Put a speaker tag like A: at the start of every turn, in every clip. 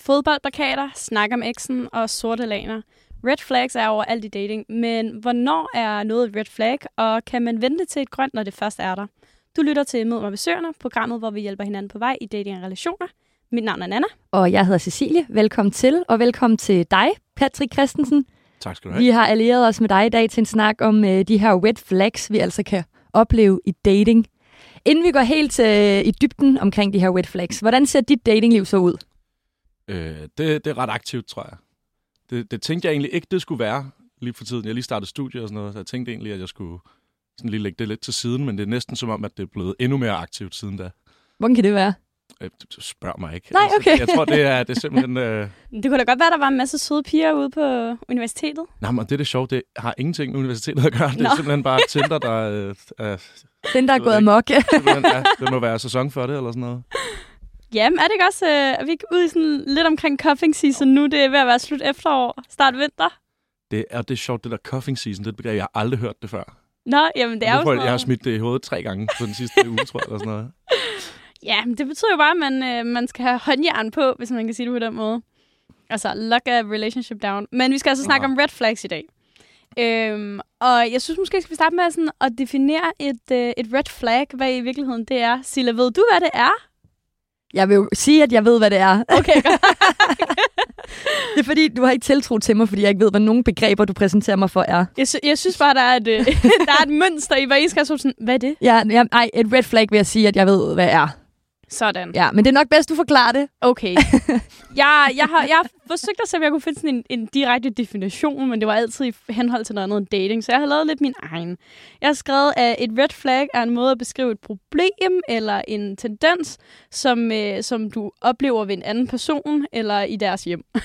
A: Fodboldplakater, snak om eksen og sorte laner. Red flags er overalt i dating, men hvornår er noget et red flag, og kan man vente til et grønt, når det først er der? Du lytter til Mød mig med Søerne, programmet, hvor vi hjælper hinanden på vej i dating og relationer. Mit navn er Nana.
B: Og jeg hedder Cecilie. Velkommen til, og velkommen til dig, Patrick Christensen.
C: Tak skal du
B: Vi
C: have.
B: har allieret os med dig i dag til en snak om øh, de her red flags, vi altså kan opleve i dating. Inden vi går helt øh, i dybden omkring de her red flags, hvordan ser dit datingliv så ud?
C: Øh, det, det er ret aktivt, tror jeg. Det, det tænkte jeg egentlig ikke, det skulle være lige for tiden. Jeg lige startede studie og sådan noget, så jeg tænkte egentlig, at jeg skulle sådan lige lægge det lidt til siden, men det er næsten som om, at det er blevet endnu mere aktivt siden da.
B: Hvordan kan det være?
C: Øh, du- du spørger mig ikke. Altså,
B: Nej, okay.
C: jeg tror, det er, det er simpelthen... Øh...
A: Det kunne da godt være, at der var en masse søde piger ude på universitetet.
C: Nej, men det er det sjovt. Det har ingenting med universitetet at gøre. Det er
A: Nå.
C: simpelthen bare Tinder, der øh, er...
B: Den, der er
C: Jeg ved
B: gået
C: ikke.
B: amok.
C: Simpelthen, ja, det må være sæson for det, eller sådan noget.
A: Jamen, er det ikke også, øh, at vi er ude i sådan lidt omkring cuffing season nu? Det er ved at være slut efterår, start vinter.
C: Det er, det er sjovt, det der cuffing season, det er et begreb, jeg har aldrig hørt det før.
A: Nå, jamen det er jo
C: Hvorfor,
A: sådan
C: jeg har
A: noget.
C: smidt det i hovedet tre gange på den sidste uge, tror jeg, eller sådan noget.
A: Ja, men det betyder jo bare, at man, øh, man skal have håndjern på, hvis man kan sige det på den måde. Altså, lock a relationship down. Men vi skal altså snakke
C: Aha.
A: om red flags i dag. Øhm, og jeg synes måske, skal vi starte med sådan at definere et, øh, et red flag, hvad i virkeligheden det er. Silla, ved du, hvad det er?
B: Jeg vil jo sige, at jeg ved, hvad det er.
A: Okay, godt.
B: Det er fordi, du har ikke tiltro til mig, fordi jeg ikke ved, hvad nogen begreber, du præsenterer mig for er.
A: Jeg, sy- jeg synes bare, der er et, øh, der er et mønster i, hvad I skal have sådan, hvad er det?
B: Ja, ja, ej, et red flag vil jeg sige, at jeg ved, hvad er.
A: Sådan.
B: Ja, men det er nok bedst, du forklarer det.
A: Okay. jeg, jeg, har, jeg har forsøgt at se, om jeg kunne finde sådan en, en direkte definition, men det var altid i henhold til noget andet end dating, så jeg har lavet lidt min egen. Jeg har skrevet, at et red flag er en måde at beskrive et problem eller en tendens, som, øh, som du oplever ved en anden person eller i deres hjem.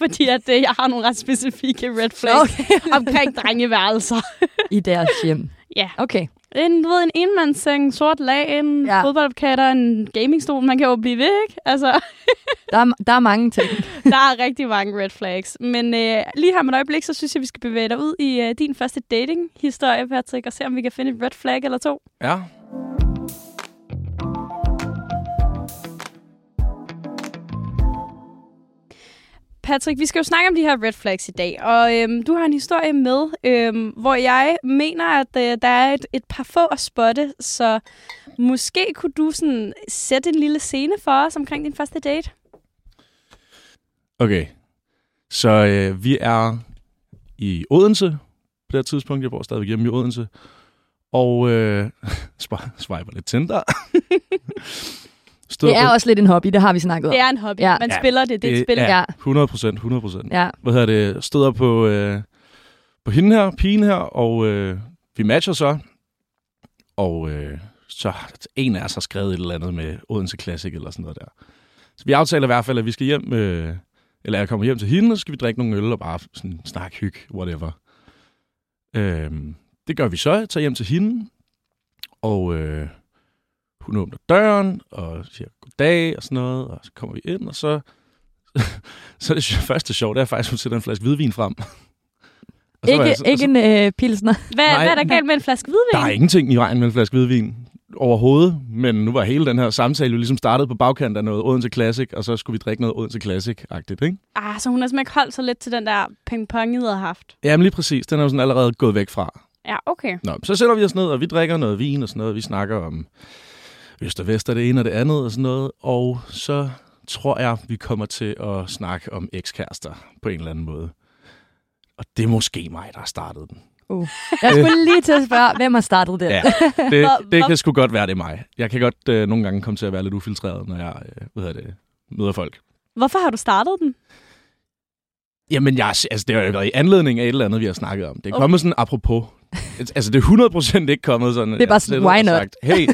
A: Fordi at, øh, jeg har nogle ret specifikke red flags okay. omkring drengeværelser.
B: I deres hjem.
A: Ja.
B: Okay.
A: En, du ved, en enmandsseng, en sort lag, en
B: Ja.
A: ja. fodboldplakater, en gamingstol. Man kan jo blive ved, ikke? Altså...
B: Der er, der er mange ting.
A: Der er rigtig mange red flags. Men øh, lige her med et øjeblik, så synes jeg, vi skal bevæge dig ud i øh, din første dating-historie, Patrick, og se, om vi kan finde et red flag eller to.
C: Ja,
A: Patrick, vi skal jo snakke om de her red flags i dag, og øhm, du har en historie med, øhm, hvor jeg mener, at øh, der er et, et par få at spotte, så måske kunne du sådan sætte en lille scene for os omkring din første date?
C: Okay. Så øh, vi er i Odense på det her tidspunkt. Jeg bor stadigvæk hjemme i Odense. Og øh, swi- swiper lidt Tinder. Stod
B: Det er også lidt en hobby, det har vi snakket om.
A: Det er en hobby.
B: Ja.
A: Ja. Man
C: Ja.
A: spiller det. Det er et spil.
C: Øh, Ja,
B: Ja.
C: 100 procent, 100 procent.
B: Ja.
C: Hvad hedder det? Støder på, øh, på hende her, pigen her, og øh, vi matcher så. Og øh, så en af os har skrevet et eller andet med Odense Classic eller sådan noget der. Så vi aftaler i hvert fald, at vi skal hjem, øh, eller jeg kommer hjem til hende, og så skal vi drikke nogle øl og bare sådan snakke hyg, whatever. Øhm, det gør vi så. Jeg tager hjem til hende, og øh, hun åbner døren og siger goddag og sådan noget, og så kommer vi ind, og så, så er det sj- første sjov, det er faktisk, at hun sætter en flaske hvidvin frem. Og så var
B: Ikke,
C: jeg så-
B: ikke en øh, pilsner.
A: Hvad,
C: Nej.
A: hvad er der galt med en flaske
C: der er
A: hvidvin?
C: ingenting i vejen med en flaske hvidvin overhovedet, men nu var hele den her samtale jo ligesom startet på bagkant af noget Odense Classic, og så skulle vi drikke noget Odense Classic-agtigt, ikke?
A: Ah, så hun har simpelthen ikke holdt sig lidt til den der ping-pong, I havde haft.
C: Jamen lige præcis, den er jo sådan allerede gået væk fra.
A: Ja, okay.
C: Nå, så sætter vi os ned, og vi drikker noget vin og sådan noget, vi snakker om øst og vest og det ene og det andet og sådan noget, og så tror jeg, vi kommer til at snakke om ekskærester på en eller anden måde. Og det er måske mig, der har startet den.
B: Jeg skulle lige til at spørge, hvem har startet det?
C: Ja, det, det kan sgu godt være, det er mig. Jeg kan godt øh, nogle gange komme til at være lidt ufiltreret, når jeg øh, hvad hedder det, møder folk.
A: Hvorfor har du startet den?
C: Jamen, jeg, altså, det har jo været i anledning af et eller andet, vi har snakket om. Det er
A: Okay.
C: kommet sådan apropos. Altså, det er 100% ikke kommet sådan. at
B: Det er bare
C: jeg
B: sådan,
C: sidder
B: why
C: og
B: not?
C: Sagt, hey,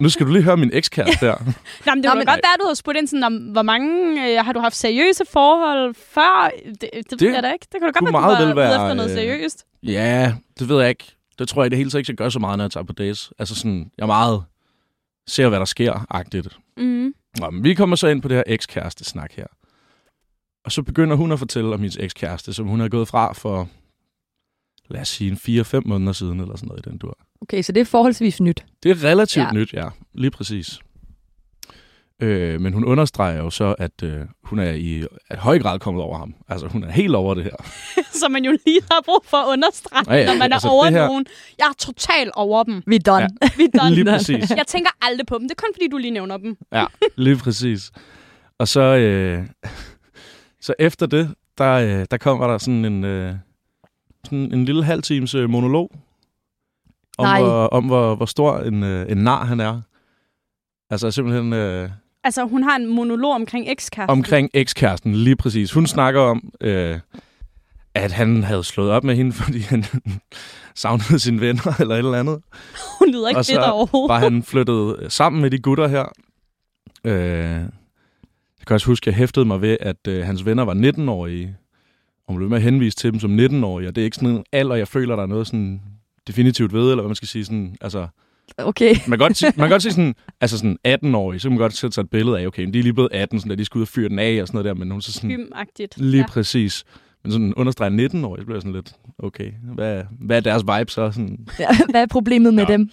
C: nu skal du lige høre min ekskæreste der.
A: Nå, men det
B: Nå,
A: kunne
B: men-
A: da godt være, at du havde spurgt ind sådan, om, hvor mange øh, har du haft seriøse forhold før? Det, øh, det, det ved jeg da ikke. Det kunne da godt
C: kunne
A: være, at
C: meget
A: du var
C: vel være,
A: ude efter noget
C: øh,
A: seriøst.
C: Ja, det ved jeg ikke. Det tror jeg i det hele taget ikke, jeg gør så meget, når jeg tager på dates. Altså sådan, jeg er meget ser, hvad der sker-agtigt.
A: Mm.
C: Nå, men vi kommer så ind på det her ekskæreste-snak her. Og så begynder hun at fortælle om hendes ekskæreste, som hun har gået fra for, lad os sige, en 4-5 måneder siden, eller sådan noget i den dur.
B: Okay, så det er forholdsvis nyt.
C: Det er relativt
B: Ja.
C: ja. nyt, ja. Lige præcis. Øh, men hun understreger jo så, at øh, hun er i at høj grad kommet over ham. Altså, hun er helt over det her.
A: som man jo lige har brug for at understrege,
C: Ja, ja,
A: når man er
C: altså,
A: over
C: det her-
A: nogen. Jeg er totalt over dem.
B: Vi er done. Ja.
A: Vi er done.
C: Lige præcis.
A: Jeg tænker aldrig på dem. Det er kun fordi, du lige nævner dem.
C: Ja, lige præcis. Og så, øh, så efter det, der, øh, der kommer der sådan en, øh, sådan en lille halvtimes øh, monolog om,
B: Nej.
C: hvor, om hvor, hvor stor en, øh, en nar han er. Altså simpelthen øh,
A: Altså, hun har en monolog omkring ekskæresten.
C: omkring ekskæresten, lige præcis. Hun snakker om, øh, at han havde slået op med hende, fordi han savnede sine venner eller et eller andet.
A: Hun lyder ikke
C: Og så
A: bitter overhovedet.
C: var han flyttet øh, sammen med de gutter her. Øh, jeg kan også huske, at jeg hæftede mig ved, at øh, hans venner var 19-årige. Og man blev med at henvise til dem som 19-årige, og det er ikke sådan en alder, jeg føler, der er noget sådan definitivt ved, eller hvad man skal sige. Sådan, altså,
B: Okay.
C: man kan godt, sige- man kan godt sige sådan, altså sådan 18-årige, så kan man godt sætte sig et billede af, okay, men de er lige blevet 18, sådan, at de skal ud og fyre den af og sådan noget der, men hun så sådan,
A: Gym-agtigt.
C: lige
A: Ja.
C: præcis. Men sådan understreger 19-årige, så bliver jeg sådan lidt, okay, hvad, hvad er deres vibe så? Sådan,
B: Ja, Hvad er problemet med
C: Ja.
B: ja. dem?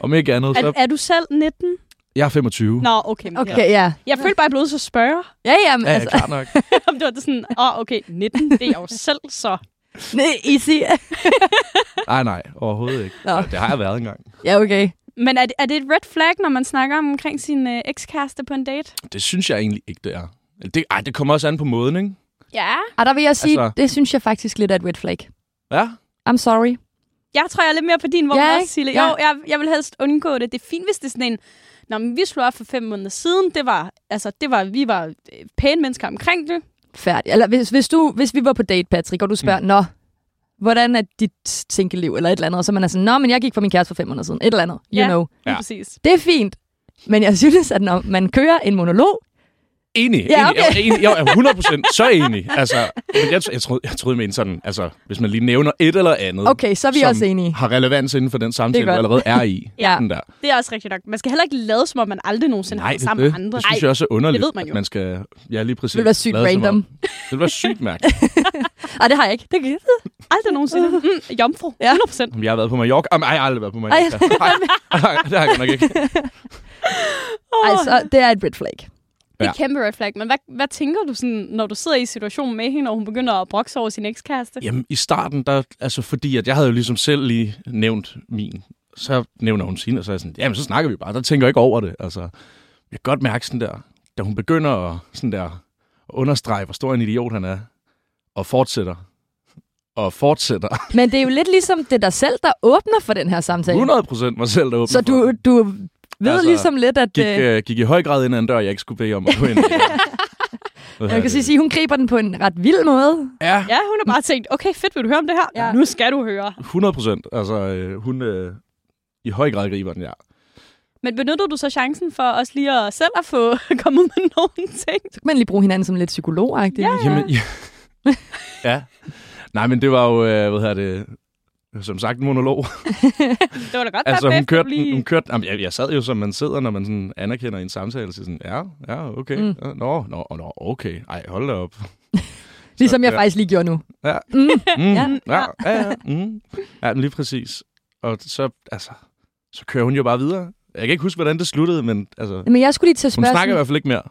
C: om ikke andet,
A: Er,
C: så
A: er du selv 19?
C: jeg er 25.
A: Nå, okay. men
B: Okay, ja.
A: Jeg følte bare, at jeg blev nødt til at spørge,
B: Ja, ja, men
C: Ja, altså.
B: altså...
C: klart nok.
A: om det var det sådan, åh, oh, okay, 19, det er jeg jo selv, så.
B: Nej, easy.
C: Nej, nej, overhovedet ikke.
B: Nå.
C: Ja, Det har jeg været engang.
B: Ja, okay.
A: Men er det, er det et red flag, når man snakker om, omkring sin øh, ekskæreste på en date?
C: Det synes jeg egentlig ikke, det er. Eller Det, ej, det kommer også an på måden, ikke?
A: Ja.
B: Og der vil jeg sige,
C: Altså-
B: altså... det synes jeg faktisk lidt er et red flag.
C: Ja,
B: I'm sorry.
A: Jeg tror, jeg er lidt mere på din vogn
B: Ja,
A: ja, også,
B: ikke?
A: Sille. Jo,
B: Ja.
A: jeg, jeg vil helst undgå det. Det er fint, hvis det er sådan en... Nå, men vi slog op for fem måneder siden. Det var, altså, det var, vi var øh, pæne mennesker omkring det.
B: Færdig. Eller hvis, hvis, du, hvis vi var på date, Patrick, og du spørger, mm. nå, hvordan er dit tænkeliv, eller et eller andet, og så er man er sådan, nå, men jeg gik fra min kæreste for fem måneder siden, et eller andet, you
A: Ja.
B: ja. know.
A: Ja.
C: Ja.
A: præcis.
B: Det er fint, men jeg synes, at når man kører en monolog,
C: enig.
B: Ja,
C: enig. Jeg, enig. jeg er 100 så enig. Altså, men jeg, tro- jeg, troede, jeg troede, men sådan, altså, hvis man lige nævner et eller andet,
B: okay, så er vi
C: som
B: også enige.
C: har relevans inden for den
B: Det
C: samtale,
B: er
C: du
B: godt.
C: allerede er i.
B: Ja.
C: Den der.
A: Det er også rigtigt nok. Man skal heller ikke lade, som om man aldrig nogensinde har
C: Nej,
A: været
C: det, er
A: sammen med
C: det.
A: andre.
C: det synes jeg også er underligt,
A: det ved man jo.
C: at man skal... Ja, lige præcis.
B: Det ville være sygt
C: lade som om-
B: random.
C: Det ville være sygt mærkeligt.
B: Ah, det har jeg ikke. Det kan
A: aldrig nogensinde. Mm, jomfru,
B: Ja.
A: 100 procent.
C: Om Jeg har været på Mallorca. Jamen, ej, jeg har aldrig været på Mallorca.
B: Ej.
C: Nej, det har jeg godt nok ikke.
B: Altså, det er et red flag.
A: Det er
C: Ja.
A: et kæmpe red flag. Men hvad, hvad tænker du, sådan, når du sidder i situationen med hende, og hun begynder at brokse over sin ekskæreste?
C: Jamen, i starten, der, altså fordi, at jeg havde jo ligesom selv lige nævnt min, så nævner hun sin, og så er jeg sådan, jamen, så snakker vi bare, der tænker jeg ikke over det, altså. Jeg kan godt mærke sådan der, da hun begynder at, sådan der, at understrege, hvor stor en idiot han er, og fortsætter, og fortsætter.
B: Men det er jo lidt ligesom det er dig selv, der åbner for den her samtale.
C: 100 procent mig selv, der åbner
B: Så
C: for
B: du,
C: den.
B: du ved
C: Altså,
B: altså, ligesom lidt, at...
C: Gik,
B: øh,
C: øh, gik i høj grad ind ad en dør, jeg ikke skulle bede om at gå ind. øh,
B: jeg kan sige, at hun griber den på en ret vild måde.
C: Ja,
A: Ja, hun har bare tænkt, okay, fedt, vil du høre om det her? Ja.
B: Ja.
A: Nu skal du høre.
C: 100 procent. Altså, øh, hun øh, i høj grad griber den, ja.
A: Men benyttede du så chancen for også lige at selv at få komme ud med nogle ting?
B: Så kan man lige bruge hinanden som lidt psykolog ja.
C: Jamen, ja. ja. Nej, men det var jo, øh, hvad hedder det, som sagt en monolog.
A: Det var da godt,
C: Altså,
A: der
C: hun kørte, den-
A: lige...
C: hun kørte jamen, jeg, jeg sad jo, som man sidder, når man sådan anerkender en samtale, så sådan, ja, ja, okay,
B: Mm.
C: mm. nå, nå, nå, okay, ej, hold da op.
B: Ligesom jeg
C: Ja.
B: faktisk lige gjorde nu.
C: Ja.
B: Mm.
C: Mm,
B: Ja.
C: ja, ja, ja, mm. ja men lige præcis. Og så, altså, så kører hun jo bare videre. Jeg kan ikke huske, hvordan det sluttede, men altså,
B: Men jeg skulle lige til at
C: hun
B: spørge...
C: snakker i
B: sådan-
C: hvert fald ikke mere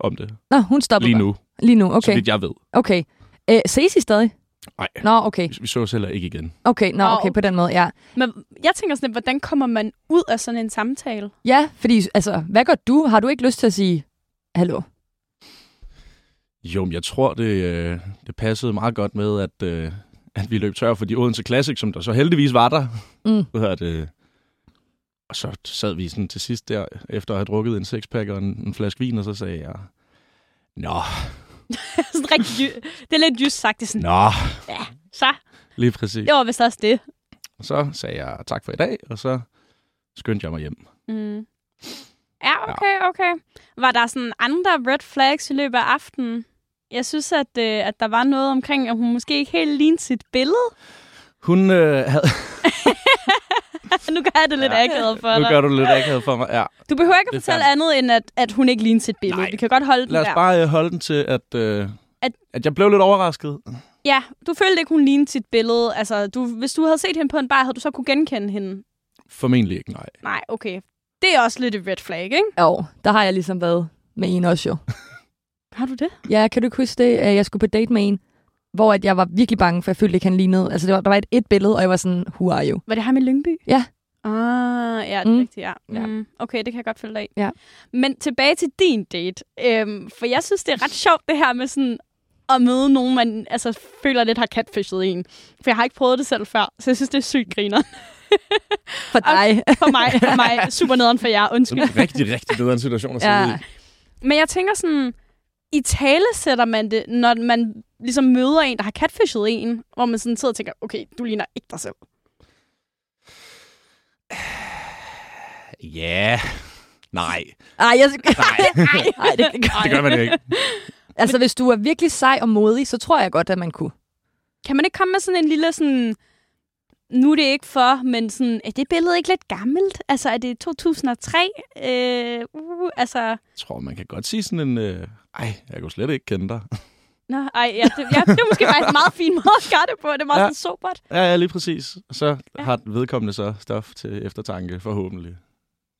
C: om det
B: Nå, hun stopper
C: lige nu,
B: Lige nu,
C: så
B: okay.
C: vidt jeg ved.
B: okay. Øh, ses I stadig?
C: Nej,
B: Nå, okay.
C: vi så os heller ikke igen.
B: Okay, nå,
A: Nå,
B: okay, på den måde, ja.
A: Men jeg tænker sådan lidt, hvordan kommer man ud af sådan en samtale?
B: Ja, fordi, altså, hvad gør du? Har du ikke lyst til at sige, hallo?
C: Jo, men jeg tror, det, øh, det passede meget godt med, at, øh, at vi løb tør for de Odense Classic, som der så heldigvis var der.
B: Mm.
C: Hvad hedder det? Og så sad vi sådan til sidst der, efter at have drukket en sexpack og en, en flaske vin, og så sagde jeg, Nå,
A: sådan rigtig jy- det er lidt jysk sagt, det er sådan,
C: nå,
A: så,
C: lige præcis.
A: det var vist også det.
C: Og så sagde jeg tak for i dag, og så skyndte jeg mig hjem.
A: Mm. Ja, okay, okay. Var der sådan andre red flags i løbet af aftenen? Jeg synes, at, øh, at der var noget omkring, at hun måske ikke helt lignede sit billede.
C: Hun øh, havde...
A: nu gør jeg det lidt
C: Ja.
A: ja. akavet for
C: Nu
A: dig.
C: gør du det lidt akavet for mig. Ja.
A: Du behøver ikke
C: Det
A: at
C: er
A: fortælle
C: fair.
A: andet, end at, at hun ikke lignede sit billede.
C: Nej.
A: Vi kan godt holde den
C: Lad os
A: der.
C: bare øh, holde den til, at, øh,
A: At-
C: at... at jeg blev lidt overrasket.
A: Ja, du følte ikke, hun lignede sit billede. Altså, du, hvis du havde set hende på en bar, havde du så kunne genkende hende?
C: Formentlig ikke, nej.
A: Nej, okay. Det er også lidt et red flag, ikke?
B: Jo, der har jeg ligesom været med en også jo.
A: Har du det?
B: Ja, kan du ikke huske det? Øh, Jeg skulle på date med en, hvor at jeg var virkelig bange, for jeg følte ikke, han lignede. Altså, det var, der var et, et billede, og jeg var sådan, who are you?
A: Var det her med Lyngby?
B: Ja.
A: Ah, ja, det er
B: Mm.
A: rigtigt, ja.
B: Ja.
A: Mm. Okay, det kan jeg godt følge dig i.
B: Ja.
A: Men tilbage til din date. Øhm, for jeg synes, det er ret sjovt, det her med sådan at møde nogen, man altså, føler lidt har catfishet en. For jeg har ikke prøvet det selv før, så jeg synes, det er sygt griner.
B: For dig.
A: For mig, for mig super nederen for jer, undskyld.
C: Sådan en rigtig, rigtig bedre situation at sidde ja.
B: ja.
C: i.
A: Men jeg tænker sådan, i tale sætter man det, når man ligesom møder en, der har catfishet en, hvor man sådan sidder og tænker, okay, du ligner ikke dig selv.
C: Ja, nej.
B: Ej, jeg...
C: Nej,
B: Nej, det, det,
C: det gør man ikke.
B: Altså, hvis du er virkelig sej og modig, så tror jeg godt, at man kunne.
A: Kan man ikke komme med sådan en lille sådan... Nu er det ikke for, men sådan, er det billede ikke lidt gammelt? Altså, er det 2003? Øh, uh, altså,
C: Jeg tror, man kan godt sige sådan en... Øh, ej, jeg kunne slet ikke kende dig.
A: nå, ej, ja, det, ja, det er måske faktisk en meget fin måde at gøre det på. Det er meget
C: Ja.
A: ja. sådan sobert.
C: Ja, ja, lige præcis. Og Så
A: Ja.
C: ja. har vedkommende så stof til eftertanke, forhåbentlig.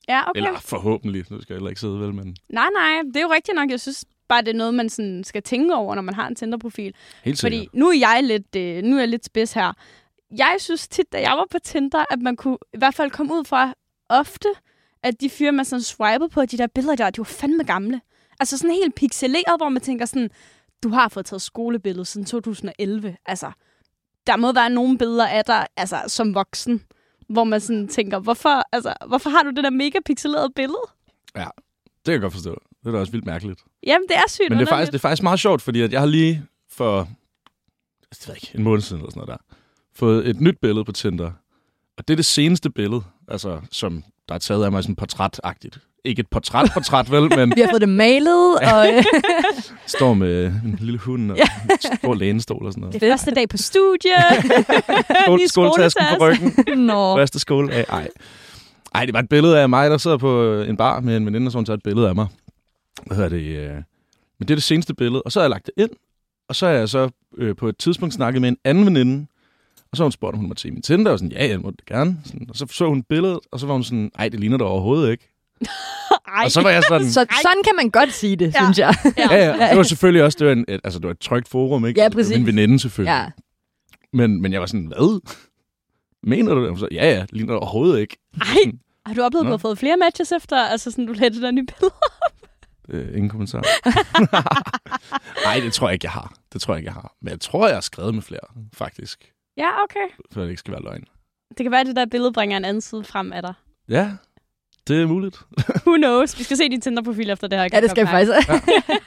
A: Ja, okay.
C: Okay. Eller forhåbentlig, nu skal jeg heller ikke sidde vel, men
A: Nej, nej, det er jo rigtigt nok. Jeg synes bare, det er noget, man sådan skal tænke over, når man har en Tinder-profil.
C: helt sikkert.
A: Fordi nu er jeg lidt, øh, nu er jeg lidt spids her. Jeg synes tit, da jeg var på Tinder, at man kunne i hvert fald komme ud fra ofte, at de fyre, man sådan swipede på, de der billeder der, de var fandme gamle. Altså sådan helt pixeleret, hvor man tænker sådan, du har fået taget skolebilledet siden 2011. Altså, der må være nogle billeder af dig, altså som voksen, hvor man sådan tænker, hvorfor, altså, hvorfor har du det der mega pixelerede billede?
C: Det kan jeg godt forstå. Det er da også vildt mærkeligt.
A: Jamen, det er sygt
C: Men det er,
A: underligt.
C: faktisk, det er faktisk meget sjovt, fordi at jeg har lige for jeg ved ikke, en måned siden eller sådan noget der, fået et nyt billede på Tinder. Og det er det seneste billede, altså, som der er taget af mig sådan portrætagtigt. Ikke et portræt-portræt, vel, men
B: Vi har fået det malet, og... Øh,
C: står med en lille hund og en stor lænestol og sådan noget.
A: det er første dag på studie.
C: Skål,
A: Ny
C: skåltasken på
A: skoletaske.
C: ryggen.
B: nå.
C: Første skål af, ej. Ej, det var et billede af mig, der sidder på øh, en bar med en veninde, som tager et billede af mig. Hvad hedder det? øh, Men det er det seneste billede, og så har jeg lagt det ind, og så har jeg så øh, på et tidspunkt snakket med en anden veninde, og så har hun spurgt, om hun måtte se min Tinder, og sådan, ja, jeg må det gerne. Sådan, og så så hun billedet, og så var hun sådan, nej, det ligner det overhovedet ikke.
A: Ej.
C: Og så var jeg sådan,
B: Så, sådan kan man godt sige det,
A: Ja.
B: ja. synes jeg.
C: ja, ja, det var selvfølgelig også, det var, en, et, altså, det var et trygt forum, ikke?
B: Ja,
C: Altså, det var
B: præcis.
C: Min veninde selvfølgelig.
B: Ja.
C: Men, men jeg var sådan, hvad? Mener du det? Og hun så, ja, ja, det ligner det overhovedet ikke.
A: Ej, har du oplevet, at du
C: Nå.
A: har fået flere matches efter, altså sådan, du lagde det der nye billede?
C: Øh, ingen kommentar. Nej, det tror jeg ikke, jeg har. Det tror jeg ikke, jeg har. Men jeg tror, jeg har skrevet med flere, faktisk.
A: Ja, okay.
C: For at det ikke skal være løgn.
A: Det kan være, at det der billede bringer en anden side frem af dig.
C: Ja, det er muligt.
A: Who knows? Vi skal se din Tinder-profil efter det her. kan
B: ja, det
A: jeg
B: skal
A: godt
B: jeg faktisk.
A: mærke.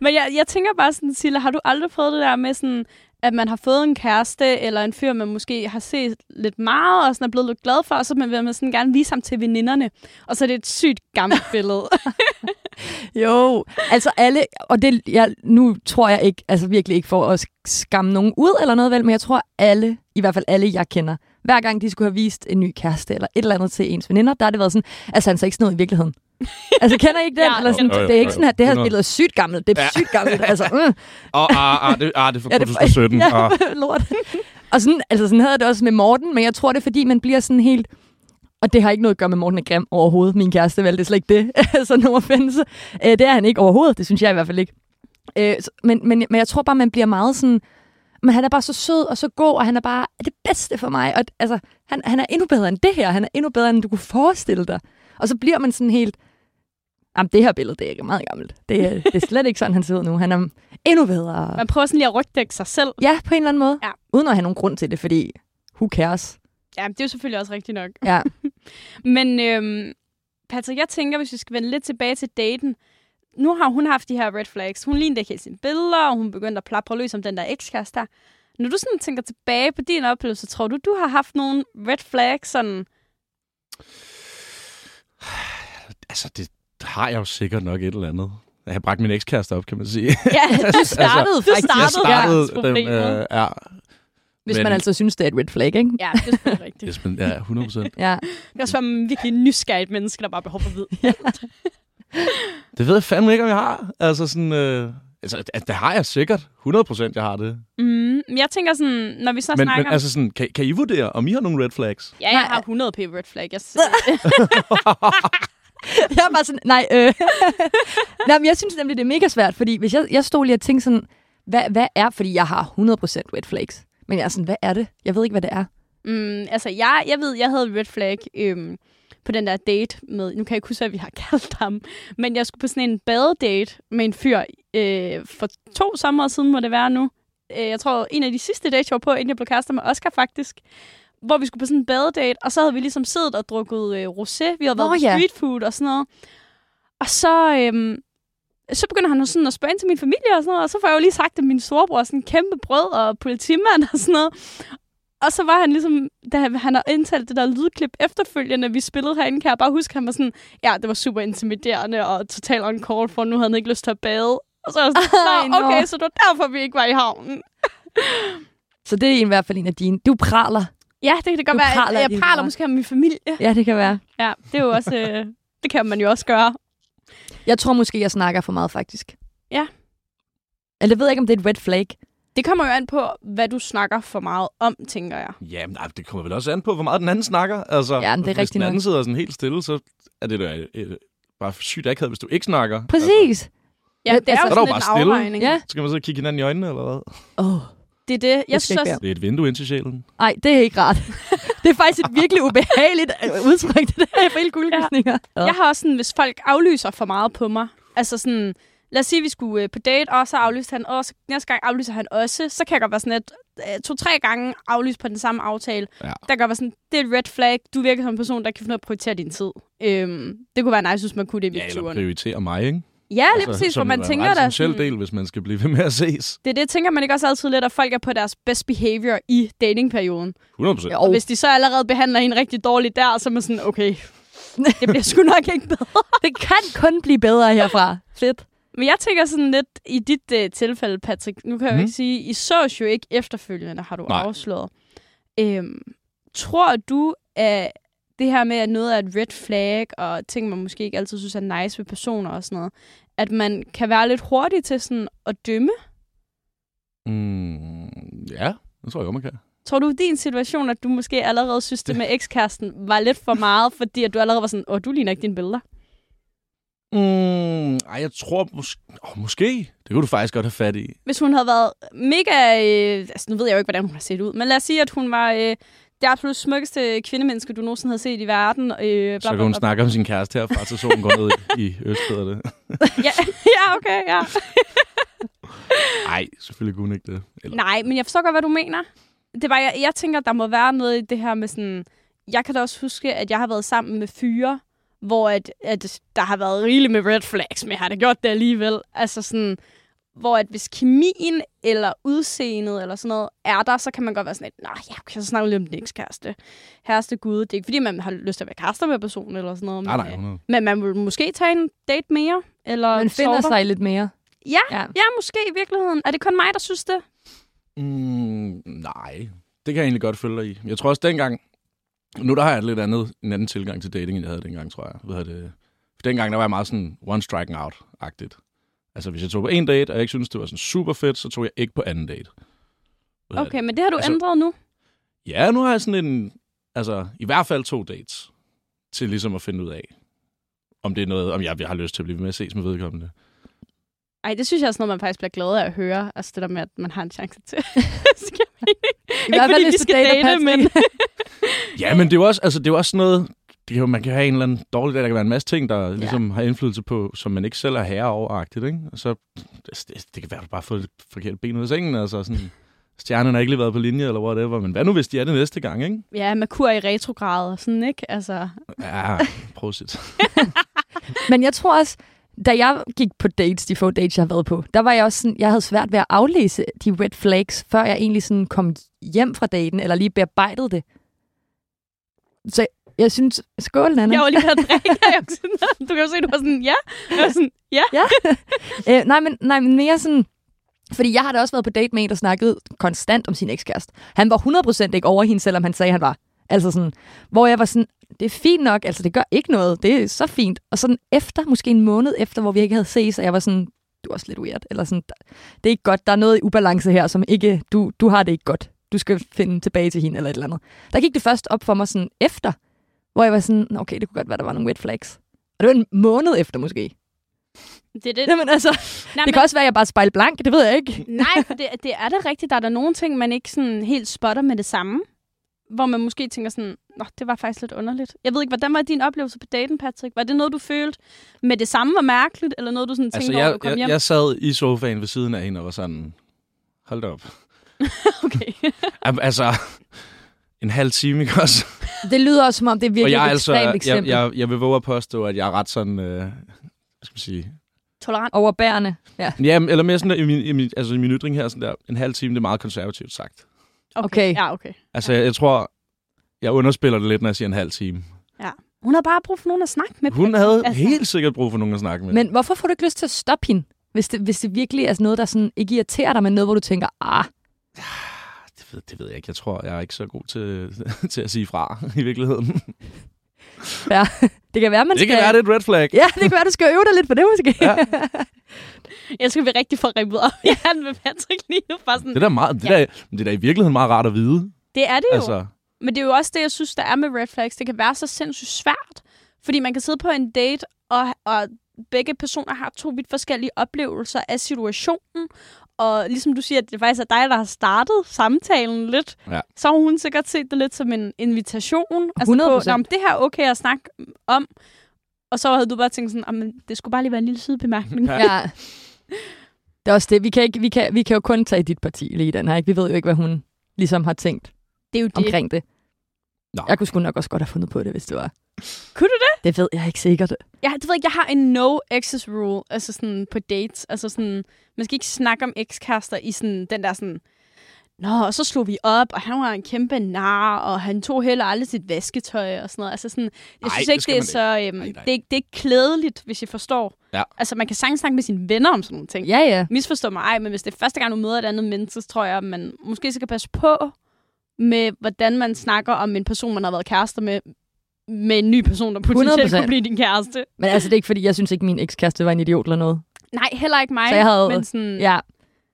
A: Men jeg, jeg tænker bare sådan, Silla, har du aldrig prøvet det der med sådan, at man har fået en kæreste, eller en fyr, man måske har set lidt meget, og sådan er blevet lidt glad for, og så vil man sådan gerne vise ham til veninderne. Og så er det et sygt gammelt billede.
B: Jo, altså alle, og det, jeg, nu tror jeg ikke, altså virkelig ikke for at skamme nogen ud eller noget vel, men jeg tror alle, i hvert fald alle jeg kender, hver gang de skulle have vist en ny kæreste eller et eller andet til ens veninder, der har det været sådan, altså han ser ikke sådan ud i virkeligheden. Altså kender I ikke den?
A: Ja.
B: Ja, eller sådan,
C: Jo, jo,
B: det er
C: jo,
B: ikke sådan, at det her
C: jo.
B: billede er sygt gammelt, det er
C: Ja.
B: sygt gammelt, altså mm,
C: Og ah, ah, det, ah, det er fra
B: Ja, det er fra-
C: 2017.
B: ja.
C: Ah.
B: lort. Og sådan, altså sådan havde jeg det også med Morten, men jeg tror det er fordi, man bliver sådan helt, og det har ikke noget at gøre med Morten er grim overhovedet, min kæreste, vel, det er slet ikke det, altså no offense. Øh, det er han ikke overhovedet, det synes jeg i hvert fald ikke. Øh, så- men, men, men jeg tror bare, man bliver meget sådan, men han er bare så sød og så god, og han er bare det bedste for mig. Og altså, han, han er endnu bedre end det her, han er endnu bedre, end du kunne forestille dig. Og så bliver man sådan helt, jamen det her billede, det er ikke meget gammelt. Det, er- det er slet ikke sådan, han ser ud nu. Han er endnu bedre.
A: Man prøver sådan lige at rygdække sig selv.
B: Ja, på en eller anden måde.
A: Ja.
B: Uden at have nogen grund til det, fordi who cares?
A: Ja, det er jo selvfølgelig også rigtigt nok.
B: Ja.
A: Men øhm, Patrick, jeg tænker, hvis vi skal vende lidt tilbage til daten. Nu har hun haft de her red flags. Hun lignede ikke helt sine billeder, og hun begyndte at plapre løs om den der ekskæreste der. Når du sådan tænker tilbage på din oplevelse, tror du, du har haft nogle red flags sådan...
C: Altså, det har jeg jo sikkert nok et eller andet. Jeg har bragt min ekskæreste op, kan man sige.
A: Ja,
B: Altså,
A: du
C: startede
A: du startede
C: jeg startede den,
A: verdensproblemet.
C: øh, ja,
B: Hvis
C: Men-
B: men... man altså synes, det er et red flag, ikke?
A: Ja, det er selvfølgelig rigtigt.
C: yes, men, ja, 100 procent.
B: Ja.
A: Det er også være virkelig nysgerrigt menneske, der bare har behov for at vide.
C: Det ved jeg fandme ikke, om jeg har. Altså, sådan, øh, altså, det, det har jeg sikkert. 100 procent, jeg har det.
A: Mm, men jeg tænker sådan, når vi så
C: Men,
A: snakker
C: men
A: om...
C: altså, sådan, kan, kan I vurdere, om I har nogle red flags?
A: Ja, jeg har 100 p red flag. Jeg,
B: jeg er bare sådan, nej, øh. nej, men jeg synes nemlig, det er mega svært, fordi hvis jeg, jeg stod lige og tænkte sådan, hvad, hvad er, fordi jeg har 100% red flags, men jeg er sådan, hvad er det? Jeg ved ikke, hvad det er.
A: Mm, altså, jeg, jeg ved, jeg havde red flag øhm, på den der date med... Nu kan jeg ikke huske, hvad vi har kaldt ham. Men jeg skulle på sådan en badedate med en fyr øh, for to sommer siden, må det være nu. Øh, jeg tror, en af de sidste dates, jeg var på, inden jeg blev kærester med Oscar faktisk. Hvor vi skulle på sådan en badedate, og så havde vi ligesom siddet og drukket øh, rosé. Vi havde
B: Nå,
A: været på
B: ja.
A: street food og sådan noget. Og så... Øhm, så begynder han jo sådan at spørge ind til min familie og sådan noget, og så får jeg jo lige sagt, at min storebror er sådan en kæmpe brød og politimand og sådan noget. Og så var han ligesom, da han han har indtalt det der lydklip efterfølgende, vi spillede herinde, kan jeg bare huske, han var sådan, ja, det var super intimiderende og totalt on call for, nu havde han ikke lyst til at bade. Og så var jeg sådan,
B: Nå.
A: "Nå, okay, så det var derfor, vi ikke var i havnen.
B: Så det er i hvert fald en af dine. Du praler.
A: Ja, det kan det godt
B: Du
A: være.
B: praler
A: jeg
B: lige
A: praler
B: meget.
A: måske om min familie.
B: Ja, det kan være.
A: Ja, det er jo også... Øh, det kan man jo også gøre.
B: Jeg tror måske, jeg snakker for meget, faktisk.
A: Ja.
B: Eller jeg ved ikke, om det er et red flag.
A: Det kommer jo an på, hvad du snakker for meget om, tænker jeg.
C: Ja, men ej, det kommer vel også an på, hvor meget den anden snakker. Altså,
B: Ja, men det er
C: hvis
B: rigtigt
C: den anden
B: nok.
C: sidder sådan helt stille, så er det da øh, bare sygt akavet, hvis du ikke snakker. Altså,
B: Præcis.
A: Ja,
B: Ja,
A: det er
B: altså-
A: jo
B: Så
A: sådan
C: er der jo
A: lidt
C: bare
A: en
C: stille.
A: afvejning.
B: Ja.
C: skal man så kigge hinanden i øjnene, eller hvad?
B: Åh, oh,
A: Det er det. Jeg
B: det
A: synes
B: skal ikke
A: også,
B: være.
C: Det er et vindue ind til sjælen.
B: Ej, det er ikke rart. det er faktisk et virkelig ubehageligt øh, udtryk, det der for hele guldkysninger. Ja.
A: Jeg har også sådan, hvis folk aflyser for meget på mig, altså sådan, lad os sige, at vi skulle øh, på date, og så aflyste han også, næste gang aflyser han også, så kan jeg godt være sådan, at øh, to-tre gange aflyse på den samme aftale,
C: Ja.
A: der kan godt være sådan, det er et red flag, du virker som en person, der kan finde ud af at prioritere din tid. Øhm, det kunne være nice, hvis man kunne det i
C: Ja, eller
A: virturen.
C: prioritere mig, ikke?
A: Ja, lige præcis, hvor man tænker
C: der.
A: der.
C: Som
A: sådan-
C: del, hvis man skal blive ved med at ses.
A: Det er det, tænker man ikke også altid lidt, at folk er på deres best behavior i datingperioden.
C: 100 procent.
A: Og
B: Jo,
A: hvis de så allerede behandler en rigtig dårligt der, så er man sådan, okay, det bliver sgu nok ikke bedre.
B: det kan kun blive bedre herfra. Fedt.
A: Men jeg tænker sådan lidt i dit øh, tilfælde, Patrick. Nu kan jeg jo
C: Mhm.
A: ikke sige, I sås jo ikke efterfølgende, har du Nej.
C: Nej.
A: afsløret. Øhm, tror du, at det her med, at noget er et red flag, og ting, man måske ikke altid synes er nice ved personer og sådan noget, at man kan være lidt hurtig til sådan at dømme?
C: Mm, ja, det tror jeg godt, man kan.
A: Tror du, i din situation, at du måske allerede synes, det med ekskæresten var lidt for meget, fordi at du allerede var sådan, åh, du ligner ikke dine billeder?
C: Mm, ej, jeg tror måske... Oh, måske. Det kunne du faktisk godt have fat i.
A: hvis hun havde været mega... Øh, altså, nu ved jeg jo ikke, hvordan hun har set ud, men lad os sige, at hun var øh, det absolut smukkeste kvindemenneske, du nogensinde havde set i verden. Øh, bla,
C: Så kan hun snakke om sin kæreste herfra, til solen går ned i, i øst, hedder det.
A: Ja, ja, okay, ja.
C: Nej, selvfølgelig kunne hun ikke det. Eller,
A: Nej, men jeg forstår godt, hvad du mener. Det er bare, jeg, jeg tænker, der må være noget i det her med sådan... Jeg kan da også huske, at jeg har været sammen med fyre, hvor at, at der har været rigeligt med red flags, men jeg har da gjort det alligevel. Altså sådan, hvor at hvis kemien eller udseendet eller sådan noget er der, så kan man godt være sådan lidt, nej, ja, okay, så snakker vi lige om din ekskæreste. Herreste gud, det er ikke fordi, man har lyst til at være kærester med personen eller sådan noget.
C: nej,
A: men,
C: nej,
A: øh,
C: 100.
A: Men man vil måske tage en date mere, eller
B: Man finder
A: sorter.
B: sig lidt mere.
A: Ja,
B: Ja.
A: ja, måske i virkeligheden. Er det kun mig, der synes det?
C: Mm, nej, det kan jeg egentlig godt følge dig i. Jeg tror også dengang... Nu der har jeg et lidt andet, en anden tilgang til dating, end jeg havde dengang, tror jeg. Hvad hedder det? For dengang der var jeg meget sådan one striking out-agtigt. Altså, hvis jeg tog på en date, og jeg ikke syntes, det var sådan super fedt, så tog jeg ikke på anden date. Hvad hedder det?
A: Okay, men det har du
C: Altså-
A: ændret nu.
C: Ja, nu har jeg sådan en... Altså, i hvert fald to dates til ligesom at finde ud af, om det er noget, om jeg, jeg har lyst til at blive ved med at ses med vedkommende.
A: Ej, det synes jeg er sådan noget, man faktisk bliver glad af at høre. Altså det der med, at man har en chance til. Skal vi
B: I hvert fald,
A: fordi
B: hvis
A: vi
B: du
A: skal
B: dater
A: date,
B: Patrick.
A: men-
C: Ja, men det er jo også, altså, det er jo også sådan noget... Det kan, jo- man kan have en eller anden dårlig dag, der kan være en masse ting, der ligesom har indflydelse på, som man ikke selv er herre over-agtigt, ikke? Og så, altså, det, det kan være, at du bare har fået et forkert ben ud af sengen, altså sådan... Stjernen har ikke lige været på linje, eller whatever, men hvad nu, hvis de er det næste gang, ikke?
A: ja, Merkur i retrograd og sådan, ikke? Altså,
C: Ja, prøv at sætte.
B: Men jeg tror også, da jeg gik på dates, de få dates, jeg har været på, der var jeg også sådan, jeg havde svært ved at aflæse de red flags, før jeg egentlig sådan kom hjem fra daten, eller lige bearbejdede det. Så jeg synes, skål, Nana.
A: jeg var lige ved at drikke. Jeg var sådan, du kan jo se, du var sådan, ja. Jeg var sådan, ja.
B: Øh, nej, men, nej, men mere sådan... Fordi jeg har da også været på date med en, der snakkede konstant om sin ekskæreste. Han var 100% ikke over hende, selvom han sagde, han var. Altså sådan, hvor jeg var sådan, det er fint nok, altså det gør ikke noget, det er så fint. Og sådan efter, måske en måned efter, hvor vi ikke havde ses, og jeg var sådan, du er også lidt weird, eller sådan, "Der- det er ikke godt, der er noget i ubalance her, som ikke, du, du har det ikke godt. Du skal finde tilbage til hende, eller et eller andet. Der gik det først op for mig sådan efter, hvor jeg var sådan, "Nå, okay, det kunne godt være, der var nogle red flags. Og det var en måned efter måske.
A: Det er det.
B: Jamen altså,
A: Nej,
B: det kan også være, at jeg bare spejler blank, det ved jeg ikke.
A: Nej, for det, det er da rigtigt. Der er der nogle ting, man ikke sådan helt spotter med det samme. Hvor man måske tænker sådan, Nå, det var faktisk lidt underligt. Jeg ved ikke, hvordan var din oplevelse på daten, Patrick? Var det noget, du følte med det samme var mærkeligt, eller noget, du sådan tænkte
C: Altså,
A: over,
C: jeg,
A: du kom
C: jeg,
A: hjem?
C: jeg sad i sofaen ved siden af hende og var sådan, hold da op.
A: Okay.
C: Am- altså, en halv time, ikke også?
B: Det lyder også, som om det er
C: og
B: virkelig
C: jeg, er
B: et
C: altså,
B: ekstremt
C: jeg,
B: eksempel.
C: jeg, jeg vil våge at påstå, at jeg er ret sådan, øh, hvad skal man sige,
A: Tolerant.
B: Overbærende. Ja.
C: ja, eller mere sådan der, i min, i min, altså i min ytring her, sådan der, en halv time, det er meget konservativt sagt.
B: Okay.
A: Ja, okay.
C: Altså, jeg, jeg tror, jeg underspiller det lidt, når jeg siger en halv time.
A: Hun havde bare brug for nogen at snakke med.
C: Hun
A: Patrick.
C: havde
A: Altså,
C: helt sikkert brug for nogen at snakke med.
B: Men hvorfor får du ikke lyst til at stoppe hende? Hvis det, hvis det virkelig er sådan noget, der sådan ikke irriterer dig, men noget, hvor du tænker, ah,
C: Det ved, det ved jeg ikke. Jeg tror, jeg er ikke så god til, til at sige fra i virkeligheden.
B: det kan være, man
C: Det
B: skal...
C: kan være, det er et red flag.
B: Ja, det kan være, du skal øve dig lidt på det måske.
C: Ja.
A: Jeg skal være rigtig for ribbet op i handen med Patrick lige nu. Bare sådan.
C: Det er da meget, det
A: Mm. Ja.
C: er, da- men det er da i virkeligheden meget rart at vide.
A: Det er det jo.
C: Altså,
A: Men det er jo også det, jeg synes, der er med red flags. Det kan være så sindssygt svært, fordi man kan sidde på en date, og, og begge personer har to vidt forskellige oplevelser af situationen. Og ligesom du siger, at det faktisk er dig, der har startet samtalen lidt,
C: Ja.
A: så har hun sikkert set det lidt som en invitation. Altså på,
B: 100%.
A: "Nå, men det her er okay at snakke om. Og så havde du bare tænkt sådan, "Ah, men det skulle bare lige være en lille sidebemærkning.
C: Ja.
B: ja. Det er også det. Vi kan, ikke, vi, kan, vi kan jo kun tage dit parti lige i den her. Ikke? Vi ved jo ikke, hvad hun ligesom har tænkt
A: Det er jo det.
B: omkring det.
C: Nå.
B: Jeg kunne sgu nok også godt have fundet på det, hvis det var.
A: Kunne du
B: det? Det ved jeg ikke sikkert.
A: Jeg, det ved jeg ikke, jeg har en no exes rule, altså sådan på dates. Altså sådan, man skal ikke snakke om ekskærester i sådan den der sådan, Nå, og så slog vi op, og han var en kæmpe nar, og han tog heller aldrig sit vasketøj og sådan noget. Altså sådan, jeg
C: Nej,
A: synes
C: det
A: ikke,
C: skal
A: det er
C: man
A: så... Øhm,
C: Nej,
A: nej,
C: nej.
A: nej. Det, er, ikke- det er ikke klædeligt, hvis jeg forstår.
C: Ja.
A: Altså, man kan sagtens snakke med sine venner om sådan nogle ting.
B: Ja, ja.
A: Misforstå mig, ej, men hvis det er første gang, du møder et andet menneske, så tror jeg, man måske så kan passe på med, hvordan man snakker om en person, man har været kærester med, med en ny person, der potentielt
B: 100%.
A: kunne blive din kæreste.
B: Men altså, det er ikke, fordi jeg synes ikke, min ekskæreste var en idiot eller noget.
A: Nej, heller ikke mig.
B: Så jeg havde-
A: Men sådan, ja.
B: Ja,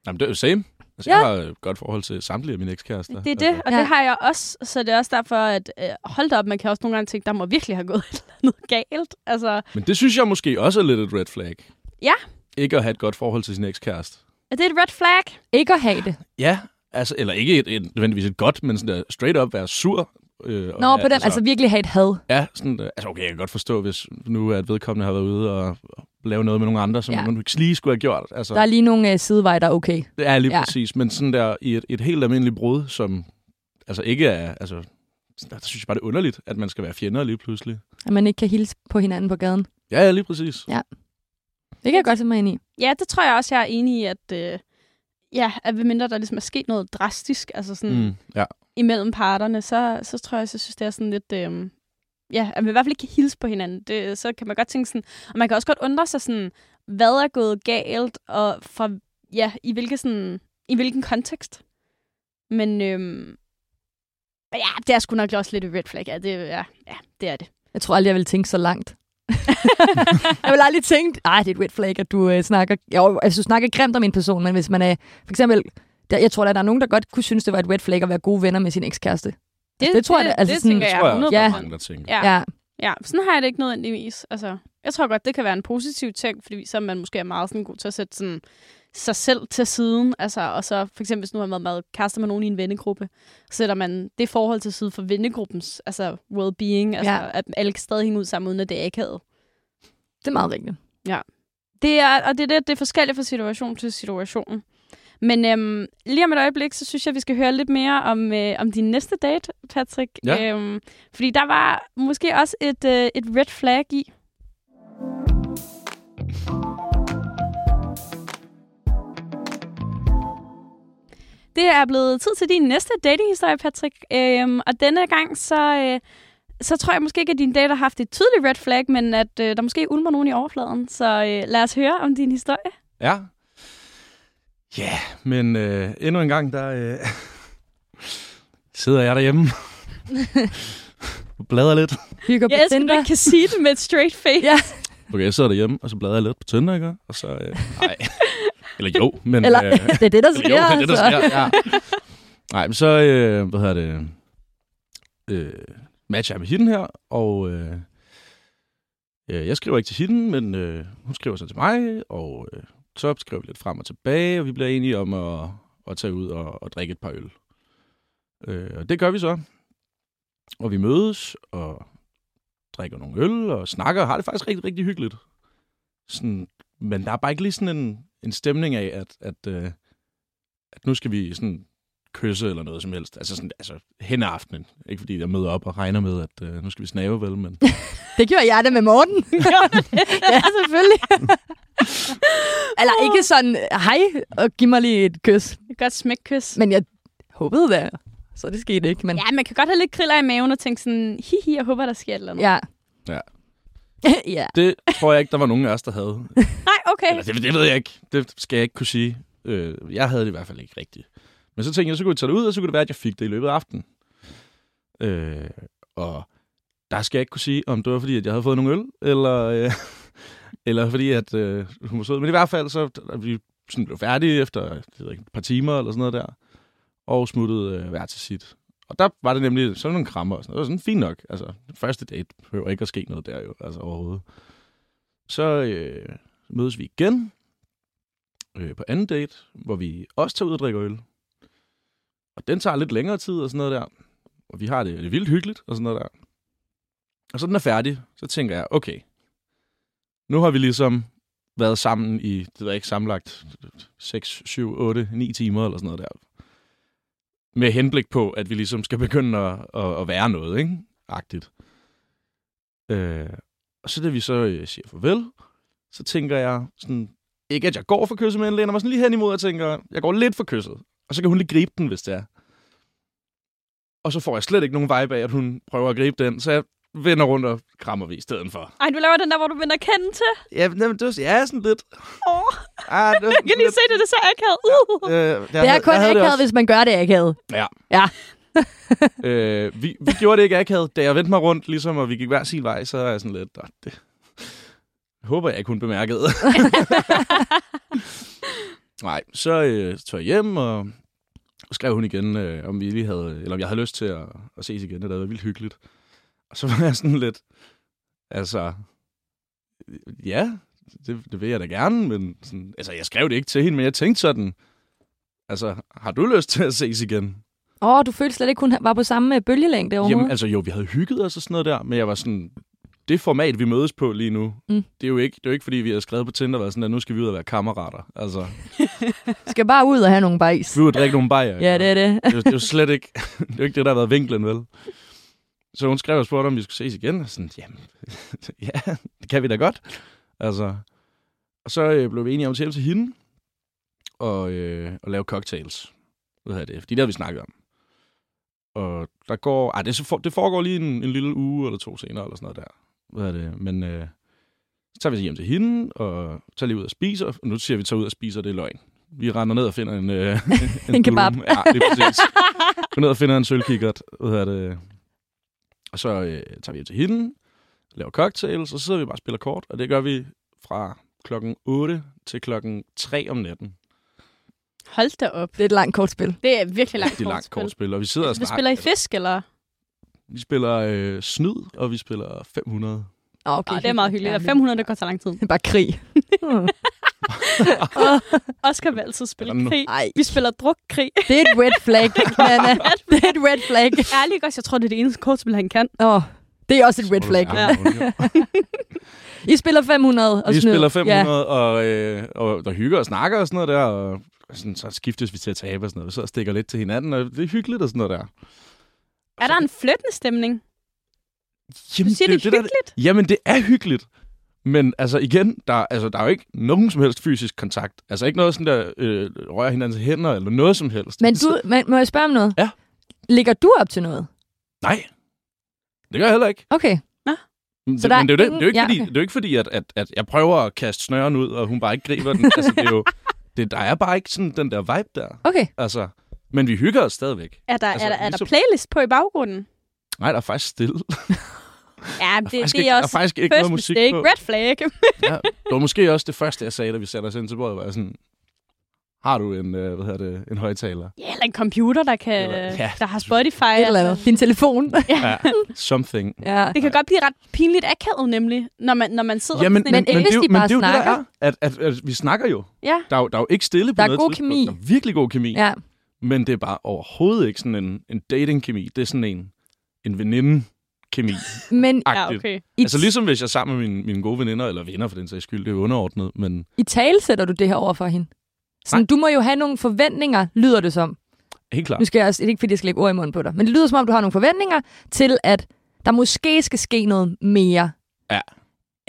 C: Jamen, det er jo same. Altså,
B: Ja.
C: ja. Jeg har et godt forhold til samtlige af mine ekskærester.
A: Det er det,
C: Altså,
A: og
B: Ja.
A: det har jeg også. Så det er også derfor, at øh, hold da op, man kan også nogle gange tænke, der må virkelig have gået et eller andet galt. Altså,
C: men det synes jeg måske også er lidt et red flag.
A: Ja.
C: Ikke at have et godt forhold til sin ekskæreste.
A: er det et red flag?
B: ikke at have det.
C: Ja, altså, eller ikke et, et, nødvendigvis et godt, men sådan der straight up være sur. Øh, og
B: Nå,
C: have-
B: på den, altså virkelig have et had.
C: Ja, sådan, øh, altså okay, jeg kan godt forstå, hvis nu at vedkommende har været ude og, og lave noget med nogle andre, som
B: Ja.
C: ja. man ikke lige skulle have gjort. Altså,
B: Der er lige nogle øh, sideveje, der er okay.
C: Det er lige
B: Ja.
C: ja. præcis, men sådan der i et, et helt almindeligt brud, som altså ikke er, altså sådan der, der synes jeg bare, det er underligt, at man skal være fjender lige pludselig.
B: At man ikke kan hilse på hinanden på gaden.
C: Ja, ja, lige præcis.
B: Det kan jeg godt se mig ind i.
A: Ja, det tror jeg også, jeg er enig i, at, øh, ja, at ved mindre der ligesom er sket noget drastisk altså
B: Hmm.
A: sådan, mm.
C: Mm. Ja.
A: imellem parterne, så, så tror jeg, også, jeg synes, det er sådan lidt... Øh, ja, at man i hvert fald ikke kan hilse på hinanden. Det, så kan man godt tænke sådan... Og man kan også godt undre sig sådan, hvad er gået galt, og fra, ja, i, hvilke, sådan, i hvilken kontekst. Men øhm, ja, det er sgu nok også lidt et red flag. Ja, det, ja, ja, det er det.
B: Jeg tror aldrig, jeg vil tænke så langt. jeg vil aldrig tænke, nej, det er et red flag, at du øh, snakker, jo, altså, du snakker grimt om en person, men hvis man er, for eksempel, der, jeg tror, at der er nogen, der godt kunne synes, det var et red flag at være gode venner med sin ekskæreste. det tror jeg da, altså
A: det, det
B: sådan-
A: tænker
C: Det
A: jeg.
C: tror jeg også,
B: Ja.
C: der
A: ja.
C: er mange, der tænker.
A: Ja.
B: ja.
A: ja, sådan har jeg det ikke nødvendigvis. Altså, jeg tror godt, det kan være en positiv ting, fordi så er man måske er meget sådan god til at sætte sådan, sig selv til siden. Altså, og så for eksempel, hvis nu har man været kærester med nogen i en vennegruppe, så sætter man det forhold til side for vennegruppens altså well-being. Altså,
B: Ja.
A: ja. at alle kan stadig hænge ud sammen, uden at det er akavet.
B: Det er meget rigtigt.
A: Det er, og det er, det, det er forskelligt fra situation til situation. Men øhm, lige om et øjeblik, så synes jeg, vi skal høre lidt mere om, øh, om din næste date, Patrick.
C: Ja.
A: Øhm, fordi der var måske også et, øh, et red flag i. Det er blevet tid til din næste datinghistorie, Patrick. Øhm, og denne gang, så, øh, så tror jeg måske ikke, at din date har haft et tydeligt red flag, men at øh, der måske ulmer nogen i overfladen. Så øh, lad os høre om din historie.
C: Ja. Ja, men øh, endnu en gang, der øh, sidder jeg derhjemme og bladrer lidt.
B: Hygger
A: Jeg
B: på
A: elsker, at du
B: Tinder.
A: ikke kan sige det med et straight face.
B: Ja.
C: Okay, jeg sidder derhjemme, og så bladrer jeg lidt på Tinder, ikke? Og så, øh, nej. Eller jo, men...
B: Eller,
C: øh,
B: det er det, der
C: Eller
B: sker.
C: jo, det er det, der
B: altså.
C: sker. Ja. Nej, men så, øh, hvad hedder det, øh, matcher jeg med hende her, og øh, Øh, jeg skriver ikke til hende, men øh, hun skriver så til mig, og øh, så skriver vi lidt frem og tilbage, og vi bliver enige om at, at tage ud og, og drikke et par øl. Øh, og det gør vi så. Og vi mødes, og drikker nogle øl, og snakker, og har det faktisk rigtig, rigtig hyggeligt. Sådan, men der er bare ikke lige sådan en, en stemning af, at, at, øh, at nu skal vi sådan kysse eller noget som helst. Altså, sådan, altså hen ad aftenen. Ikke fordi jeg møder op og regner med, at øh, nu skal vi snave vel, men
B: Det gjorde jeg da med Morten. ja, selvfølgelig. Eller ikke sådan, hej, og giv mig lige et kys.
A: Et godt smækkys.
B: Men jeg håbede da, så det skete ikke. Men
A: Ja, man kan godt have lidt kriller i maven og tænke sådan, hihi, jeg håber, der sker et eller andet.
B: ja.
C: Ja.
B: ja.
C: det tror jeg ikke, der var nogen af os, der havde.
A: Nej, okay.
C: Eller, det, det ved jeg ikke. Det skal jeg ikke kunne sige. Øh, jeg havde det i hvert fald ikke rigtigt. Men så tænkte jeg, så kunne jeg tage det ud, og så kunne det være, at jeg fik det i løbet af aftenen. Øh, og der skal jeg ikke kunne sige, om det var fordi, at jeg havde fået nogle øl, eller, øh, eller fordi, at øh, hun var sød. Men i hvert fald, så da vi sådan blev færdige efter jeg ved ikke, et par timer eller sådan noget der, og smuttede øh, hver til sit. Og der var det nemlig sådan nogle krammer og sådan noget. Det var sådan fint nok. Altså, første date behøver ikke at ske noget der jo, altså overhovedet. Så, øh, mødes vi igen øh, på anden date, hvor vi også tager ud og drikker øl. Og den tager lidt længere tid og sådan noget der. Og vi har det, det er vildt hyggeligt og sådan noget der. Og så den er færdig, så tænker jeg, okay, nu har vi ligesom været sammen i, det ved jeg ikke, samlet 6, 7, 8, 9 timer eller sådan noget der. Med henblik på, at vi ligesom skal begynde at, at, at være noget, ikke? Agtigt. Øh, og så da vi så øh, siger farvel, så tænker jeg sådan, ikke at jeg går for kysset, men jeg læner mig sådan lige hen imod og tænker, jeg går lidt for kysset. Og så kan hun lige gribe den, hvis det er. Og så får jeg slet ikke nogen vibe af, at hun prøver at gribe den, så jeg vender rundt og krammer vi i stedet for.
A: Ej, du laver den der, hvor du vender kende til.
C: Ja, men det var, jeg er sådan lidt...
A: Åh,
C: Ah, det var
A: jeg kan lige se det, det er så akavet. Uh.
C: Øh, jeg,
B: Det er
C: havde-
B: kun
C: jeg havde det
B: akavet, hvis man gør det akavet.
C: Ja.
B: Ja.
C: øh, vi, vi gjorde det ikke akavet. Da jeg vendte mig rundt, ligesom, og vi gik hver sin vej, så er jeg sådan lidt... "Nå, Det jeg håber jeg ikke, hun bemærkede. Nej, så øh, tog jeg hjem, og skrev hun igen, øh, om, vi lige havde, eller om jeg havde lyst til at, at ses igen. Det havde været vildt hyggeligt. Og så var jeg sådan lidt... Altså... Ja, det, det vil jeg da gerne, men sådan, altså, jeg skrev det ikke til hende, men jeg tænkte sådan, altså, har du lyst til at ses igen?
B: Åh, oh, du følte slet ikke, hun var på samme øh, bølgelængde overhovedet?
C: Jamen, altså jo, vi havde hygget os og sådan noget der, men jeg var sådan, det format, vi mødes på lige nu,
B: Mm.
C: mm. det, er jo ikke, det er jo ikke, fordi vi har skrevet på Tinder, og været sådan, at nu skal vi ud og være kammerater. Altså,
B: Skal bare ud og have nogle bajs.
C: vi vil drikke nogle bajer.
B: Ja, det er det.
C: det, er, jo- det er jo slet ikke det, er jo ikke det, der har været vinklen, vel? Så hun skrev og spurgte, om vi skulle ses igen. Og sådan, jamen, ja, det kan vi da godt. Altså, og så øh, blev vi enige om at tage hjem til hende og, øh, og lave cocktails. Hvad hedder det? Fordi det har vi snakket om. Og der går... Ej, det, er så for, det foregår lige en, en lille uge eller to senere, eller sådan noget der. Hvad hedder det? Men øh, så tager vi hjem til hende, og tager lige ud og spiser. Og nu siger vi, at vi tager ud og spiser, det er løgn. Vi render ned og finder en... Øh,
B: En kebab.
C: dulum. Ja, det er præcis. Går ned og finder en sølvkikkert. Hvad hedder det? Og så øh, tager vi hjem til hende, laver cocktails, og så sidder vi bare og spiller kort. Og det gør vi fra klokken 8 til klokken 3 om natten.
A: Hold da op.
B: Det er et langt kortspil.
A: Det er virkelig langt
C: Det er langt kortspil, og vi sidder og
A: Altså, Vi
C: snakker.
A: spiller I fisk, eller?
C: Vi spiller øh, snyd, og vi spiller 500.
B: Oh, okay.
A: Okay, det er meget hyggeligt.
B: Ja,
A: 500, det går så lang tid.
B: Det er bare krig. Hmm.
A: Oscar vil altid spille
C: Er der nu-
A: krig.
B: Ej,
A: Vi spiller drukkrig.
B: det er et red flag, Nana. Det er et red flag.
A: Ærligt også, jeg tror, det er det eneste kortspil, han kan.
B: Åh, oh, det er også et red flag.
A: Ja.
B: I spiller 500 og
C: Vi
B: snyder.
C: spiller 500, ja. og, øh, og der hygger og snakker og sådan noget der, og sådan, så skiftes vi til at tabe og sådan noget. Vi sidder og stikker lidt til hinanden, og det er hyggeligt og sådan noget der.
A: Er
C: Altså,
A: der en flyttende stemning? Du
C: Jamen,
A: siger, det er
C: Mm, jo
A: hyggeligt.
C: der, jamen, det er hyggeligt. Men altså igen, der, altså, der er jo ikke nogen som helst fysisk kontakt. Altså ikke noget sådan der, øh, rører hinandens hænder eller noget som helst.
B: Men du, men, må jeg spørge om noget?
C: Ja.
B: Ligger du op til noget?
C: Nej, det gør jeg heller ikke.
B: Okay.
C: Men
B: Så
C: det,
B: der er
C: men det, er jo det,
B: ingen-
C: det er jo ikke
B: ja,
C: fordi,
B: okay.
C: det er jo ikke fordi at, at, at jeg prøver at kaste snøren ud, og hun bare ikke griber den. altså, det er jo, det, der er bare ikke sådan den der vibe der.
B: Okay.
C: Altså, men vi hygger os stadigvæk.
A: Er der, altså,
C: Altså,
A: er der, er der
C: ligesom-
A: playlist på i baggrunden?
C: Nej, der er faktisk stille. Der
A: Ja, det,
C: faktisk
A: det
C: ikke,
A: er
C: der
A: også
C: er faktisk ikke
A: first
C: noget musik
A: mistake.
C: på.
A: Red flag.
C: Ja. Det var måske også det første, jeg sagde, da vi satte os ind til bordet, var jeg sådan, Har du en, øh, hvad hedder det, en højtaler?
A: Ja, eller en computer, der, kan,
C: Eller-
A: ja.
C: ja.
A: der har Spotify.
B: Et eller andet. Din telefon.
C: Ja, something.
B: ja.
A: Det kan godt blive ret pinligt akavet, nemlig, når man, når man sidder
C: Jamen,
A: sådan
B: men ikke
A: en...
B: hvis
C: det er jo-
B: de bare
C: det er jo det, der
B: snakker.
C: er, at, at, at, vi snakker jo.
A: Ja.
C: Der er jo, der er jo ikke stille på
B: Der er
C: noget
B: god
C: tidspunkt.
B: kemi.
C: Der er virkelig god kemi.
B: ja.
C: Men det er bare overhovedet ikke sådan en, en dating-kemi. Det er sådan en, en veninde-kemi.
B: Men
A: Ja, okay.
B: i,
C: Altså ligesom hvis jeg er sammen med mine, mine gode veninder, eller venner for den sags skyld, det er jo underordnet, men
B: i tale sætter du det her over for hende. Sådan, du må jo have nogle forventninger, lyder det som.
C: helt klart.
B: Nu skal jeg også, det er ikke fordi jeg skal lægge ord i munden på dig, men det lyder som om, du har nogle forventninger til, at der måske skal ske noget mere.
C: Ja.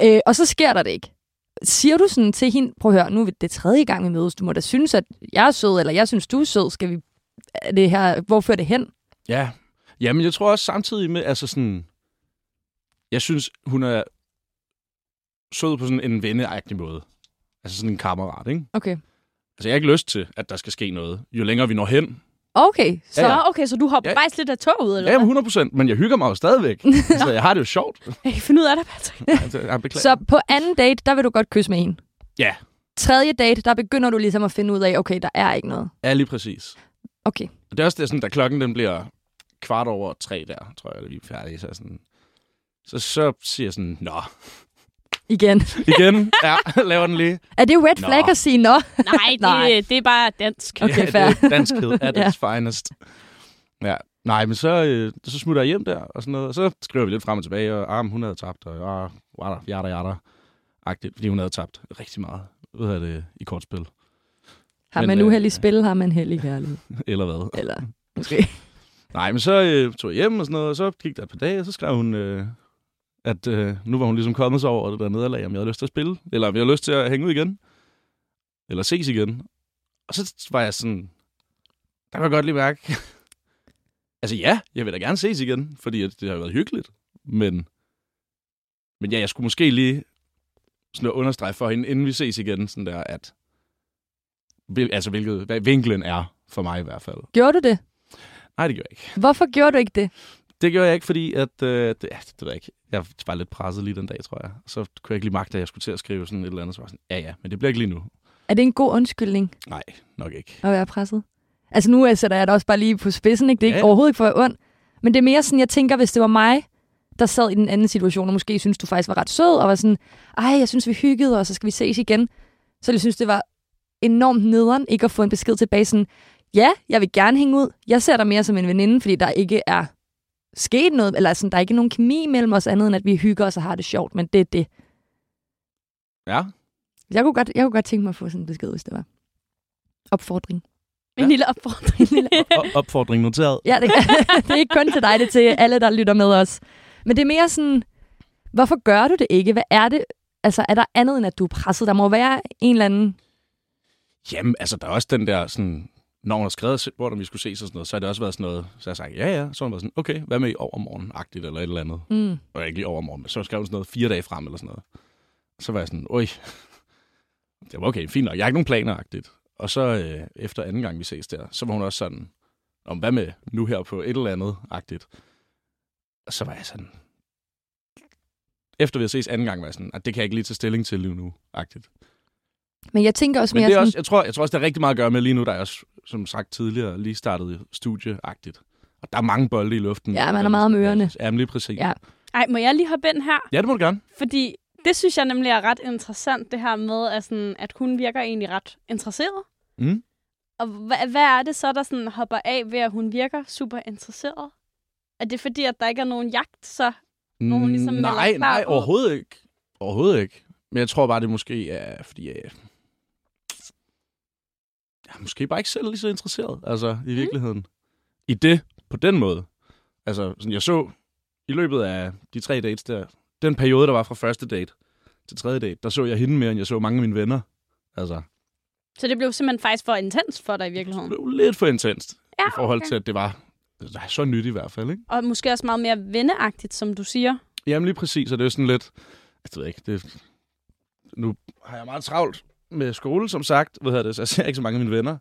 B: Øh, og så sker der det ikke. Siger du sådan til hende, prøv at høre, nu er det tredje gang, vi mødes, du må da synes, at jeg er sød, eller jeg synes, du er sød, skal vi er det her, hvor fører det hen?
C: Ja. ja, men jeg tror også samtidig med, altså sådan, jeg synes, hun er sød på sådan en venneagtig måde. Altså sådan en kammerat, ikke?
B: Okay.
C: Altså jeg har ikke lyst til, at der skal ske noget, jo længere vi når hen.
B: Okay, så
A: Så,
C: Ja,
A: okay, så du hopper
C: Ja.
A: ja. faktisk lidt af toget, eller
C: Ja,
A: hvad?
C: 100 procent, men jeg hygger mig jo stadigvæk. altså, jeg har det jo sjovt.
A: Jeg kan finde ud af det, Patrick.
C: Altså, jeg beklager.
B: Så på anden date, der vil du godt kysse med en.
C: Ja.
B: Tredje date, der begynder du ligesom at finde ud af, okay, der er ikke noget.
C: Ja, lige præcis.
B: Okay.
C: Og det er også det, sådan, da klokken den bliver kvart over tre der, tror jeg, at vi er færdige. Så, sådan, så, så siger jeg sådan, nå,
B: Igen.
C: igen, ja, laver den lige.
B: Er det red
C: Nå.
B: flag at sige nå?
A: Nej, det,
B: Nej.
A: det er bare dansk.
B: Okay,
C: ja,
B: fair.
C: Det er danskhed at
B: Ja.
C: its finest. Ja. Nej, men så, øh, så smutter jeg hjem der, og sådan noget. Og så skriver vi lidt frem og tilbage, og ah, men hun havde tabt, og ah, wada, yada, yada. Agtigt, fordi hun havde tabt rigtig meget ved at det i kortspil,
B: Har
C: Men,
B: man
C: øh,
B: uheldig spil, har man heldig kærlighed.
C: eller hvad.
B: Eller måske.
C: Nej, men så øh, tog jeg hjem og sådan noget, og så gik der et par dage, og så skrev hun, øh, at øh, nu var hun ligesom kommet sig over det der nederlag, om jeg havde lyst til at spille, eller om jeg havde lyst til at hænge ud igen, eller ses igen. Og så var jeg sådan, der kan jeg godt lige mærke, altså ja, jeg vil da gerne ses igen, fordi at det har jo været hyggeligt, men, men ja, jeg skulle måske lige sådan at understrege for hende, inden vi ses igen, sådan der, at hvil, altså, hvilket, hvad vinklen er for mig i hvert fald.
B: Gjorde du det?
C: Nej, det gjorde jeg ikke.
B: Hvorfor gjorde du ikke det?
C: Det gjorde jeg ikke, fordi at, øh, det, ja, det ved jeg ikke. Jeg var lidt presset lige den dag, tror jeg. Så kunne jeg ikke lige magte, at jeg skulle til at skrive sådan et eller andet. Så var jeg sådan, ja ja, men det bliver ikke lige nu.
B: Er det en god undskyldning
C: Nej, nok ikke.
B: at være presset? Altså nu øh, sætter jeg det også bare lige på spidsen, ikke? Det er ikke,
C: Ja.
B: overhovedet ikke for at være ond. Men det er mere sådan, jeg tænker, hvis det var mig, der sad i den anden situation, og måske synes du faktisk var ret sød, og var sådan, ej, jeg synes, vi hyggede, og så skal vi ses igen. Så jeg synes, det var enormt nederen ikke at få en besked tilbage sådan, ja, jeg vil gerne hænge ud. Jeg ser dig mere som en veninde, fordi der ikke er sket noget, eller sådan, der er ikke nogen kemi mellem os andet, end at vi hygger os og har det sjovt, men det er det.
C: Ja,
B: Jeg kunne godt, jeg kunne godt tænke mig at få sådan en besked, hvis det var. Opfordring.
A: En lille opfordring.
C: og opfordring noteret.
B: Ja, det, det er ikke kun til dig, det er til alle, der lytter med os. Men det er mere sådan, hvorfor gør du det ikke? Hvad er det? Altså, er der andet end, at du er presset? Der må være en eller anden...
C: Jamen, altså, der er også den der sådan... Når hun har skrevet, hvor vi skulle ses og sådan noget, så har det også været sådan noget, så har jeg sagt, ja, ja, så har hun været sådan, okay, hvad med i overmorgen-agtigt eller et eller andet.
B: Mm.
C: Og ikke lige overmorgen, men så skrev hun sådan noget fire dage frem eller sådan noget. Så var jeg sådan, oj, det var okay, fint nok, jeg har ikke nogen planer-agtigt. Og så øh, efter anden gang, vi ses der, så var hun også sådan, om hvad med nu her på et eller andet-agtigt. Og så var jeg sådan, efter vi havde ses anden gang, var jeg sådan, at det kan jeg ikke lige tage stilling til lige nu-agtigt.
B: Men jeg tænker også
C: Men
B: mere
C: det er
B: sådan...
C: også, jeg, tror, jeg tror også, det er rigtig meget at gøre med lige nu, der er også, som sagt tidligere, lige startet studieagtigt. Og der er mange bolde i luften.
B: Ja, man er meget om ørerne.
C: Ja, men lige præcis.
B: Ja.
C: Ja.
A: Ej, må jeg lige hoppe ind her?
C: ja, det må du gerne.
A: Fordi det synes jeg nemlig er ret interessant, det her med, at, sådan, at hun virker egentlig ret interesseret.
C: Mm.
A: Og hva- hvad er det så, der sådan hopper af ved, at hun virker super interesseret? Er det fordi, at der ikke er nogen jagt, så hvor hun ligesom
C: Mm,
A: melder
C: nej,
A: klar
C: nej,
A: ud.
C: overhovedet ikke. Overhovedet ikke. Men jeg tror bare, det måske er, fordi jeg... jeg er måske bare ikke selv lige så interesseret, altså, i virkeligheden. Mm. I det, på den måde. Altså, sådan, jeg så i løbet af de tre dates der, den periode, der var fra første date til tredje date, der så jeg hende mere, end jeg så mange af mine venner. Altså,
A: Så det blev simpelthen faktisk for intens for dig i
C: det
A: virkeligheden.
C: blev lidt for intenst,
A: Ja,
C: i forhold
A: okay.
C: til, at det var det var så nyt i hvert fald, ikke?
A: Og måske også meget mere venneagtigt, som du siger.
C: Jamen lige præcis, og det er sådan lidt... altså, Jeg ved ikke, det... Nu har jeg meget travlt med skole, som sagt. Hvad hedder det? Så jeg ser ikke så mange af mine venner.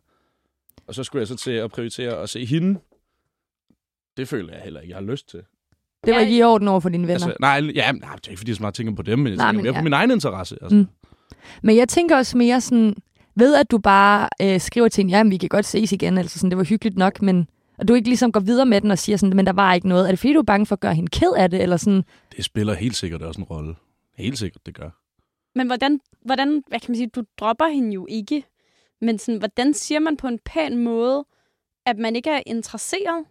C: Og så skulle jeg så til at prioritere at se hende. Det føler jeg heller ikke, jeg har lyst til.
B: Det var ikke i orden over for dine venner.
C: Altså, nej, ja, nej, det er ikke, fordi jeg så meget tænker på dem, men jeg
B: Nej,
C: nej, tænker
B: men
C: mere
B: ja.
C: på min egen interesse. Altså.
B: Mm. Men jeg tænker også mere sådan, ved at du bare øh, skriver til hende, jamen vi kan godt ses igen, altså sådan, det var hyggeligt nok, men og du ikke ligesom går videre med den og siger sådan, men der var ikke noget. Er det fordi, du er bange for at gøre hende ked af det? Eller sådan,
C: Det spiller helt sikkert også en rolle. Helt sikkert, det gør.
A: Men hvordan, hvordan, hvad kan man sige, du dropper hende jo ikke. Men sådan, hvordan siger man på en pæn måde, at man ikke er interesseret?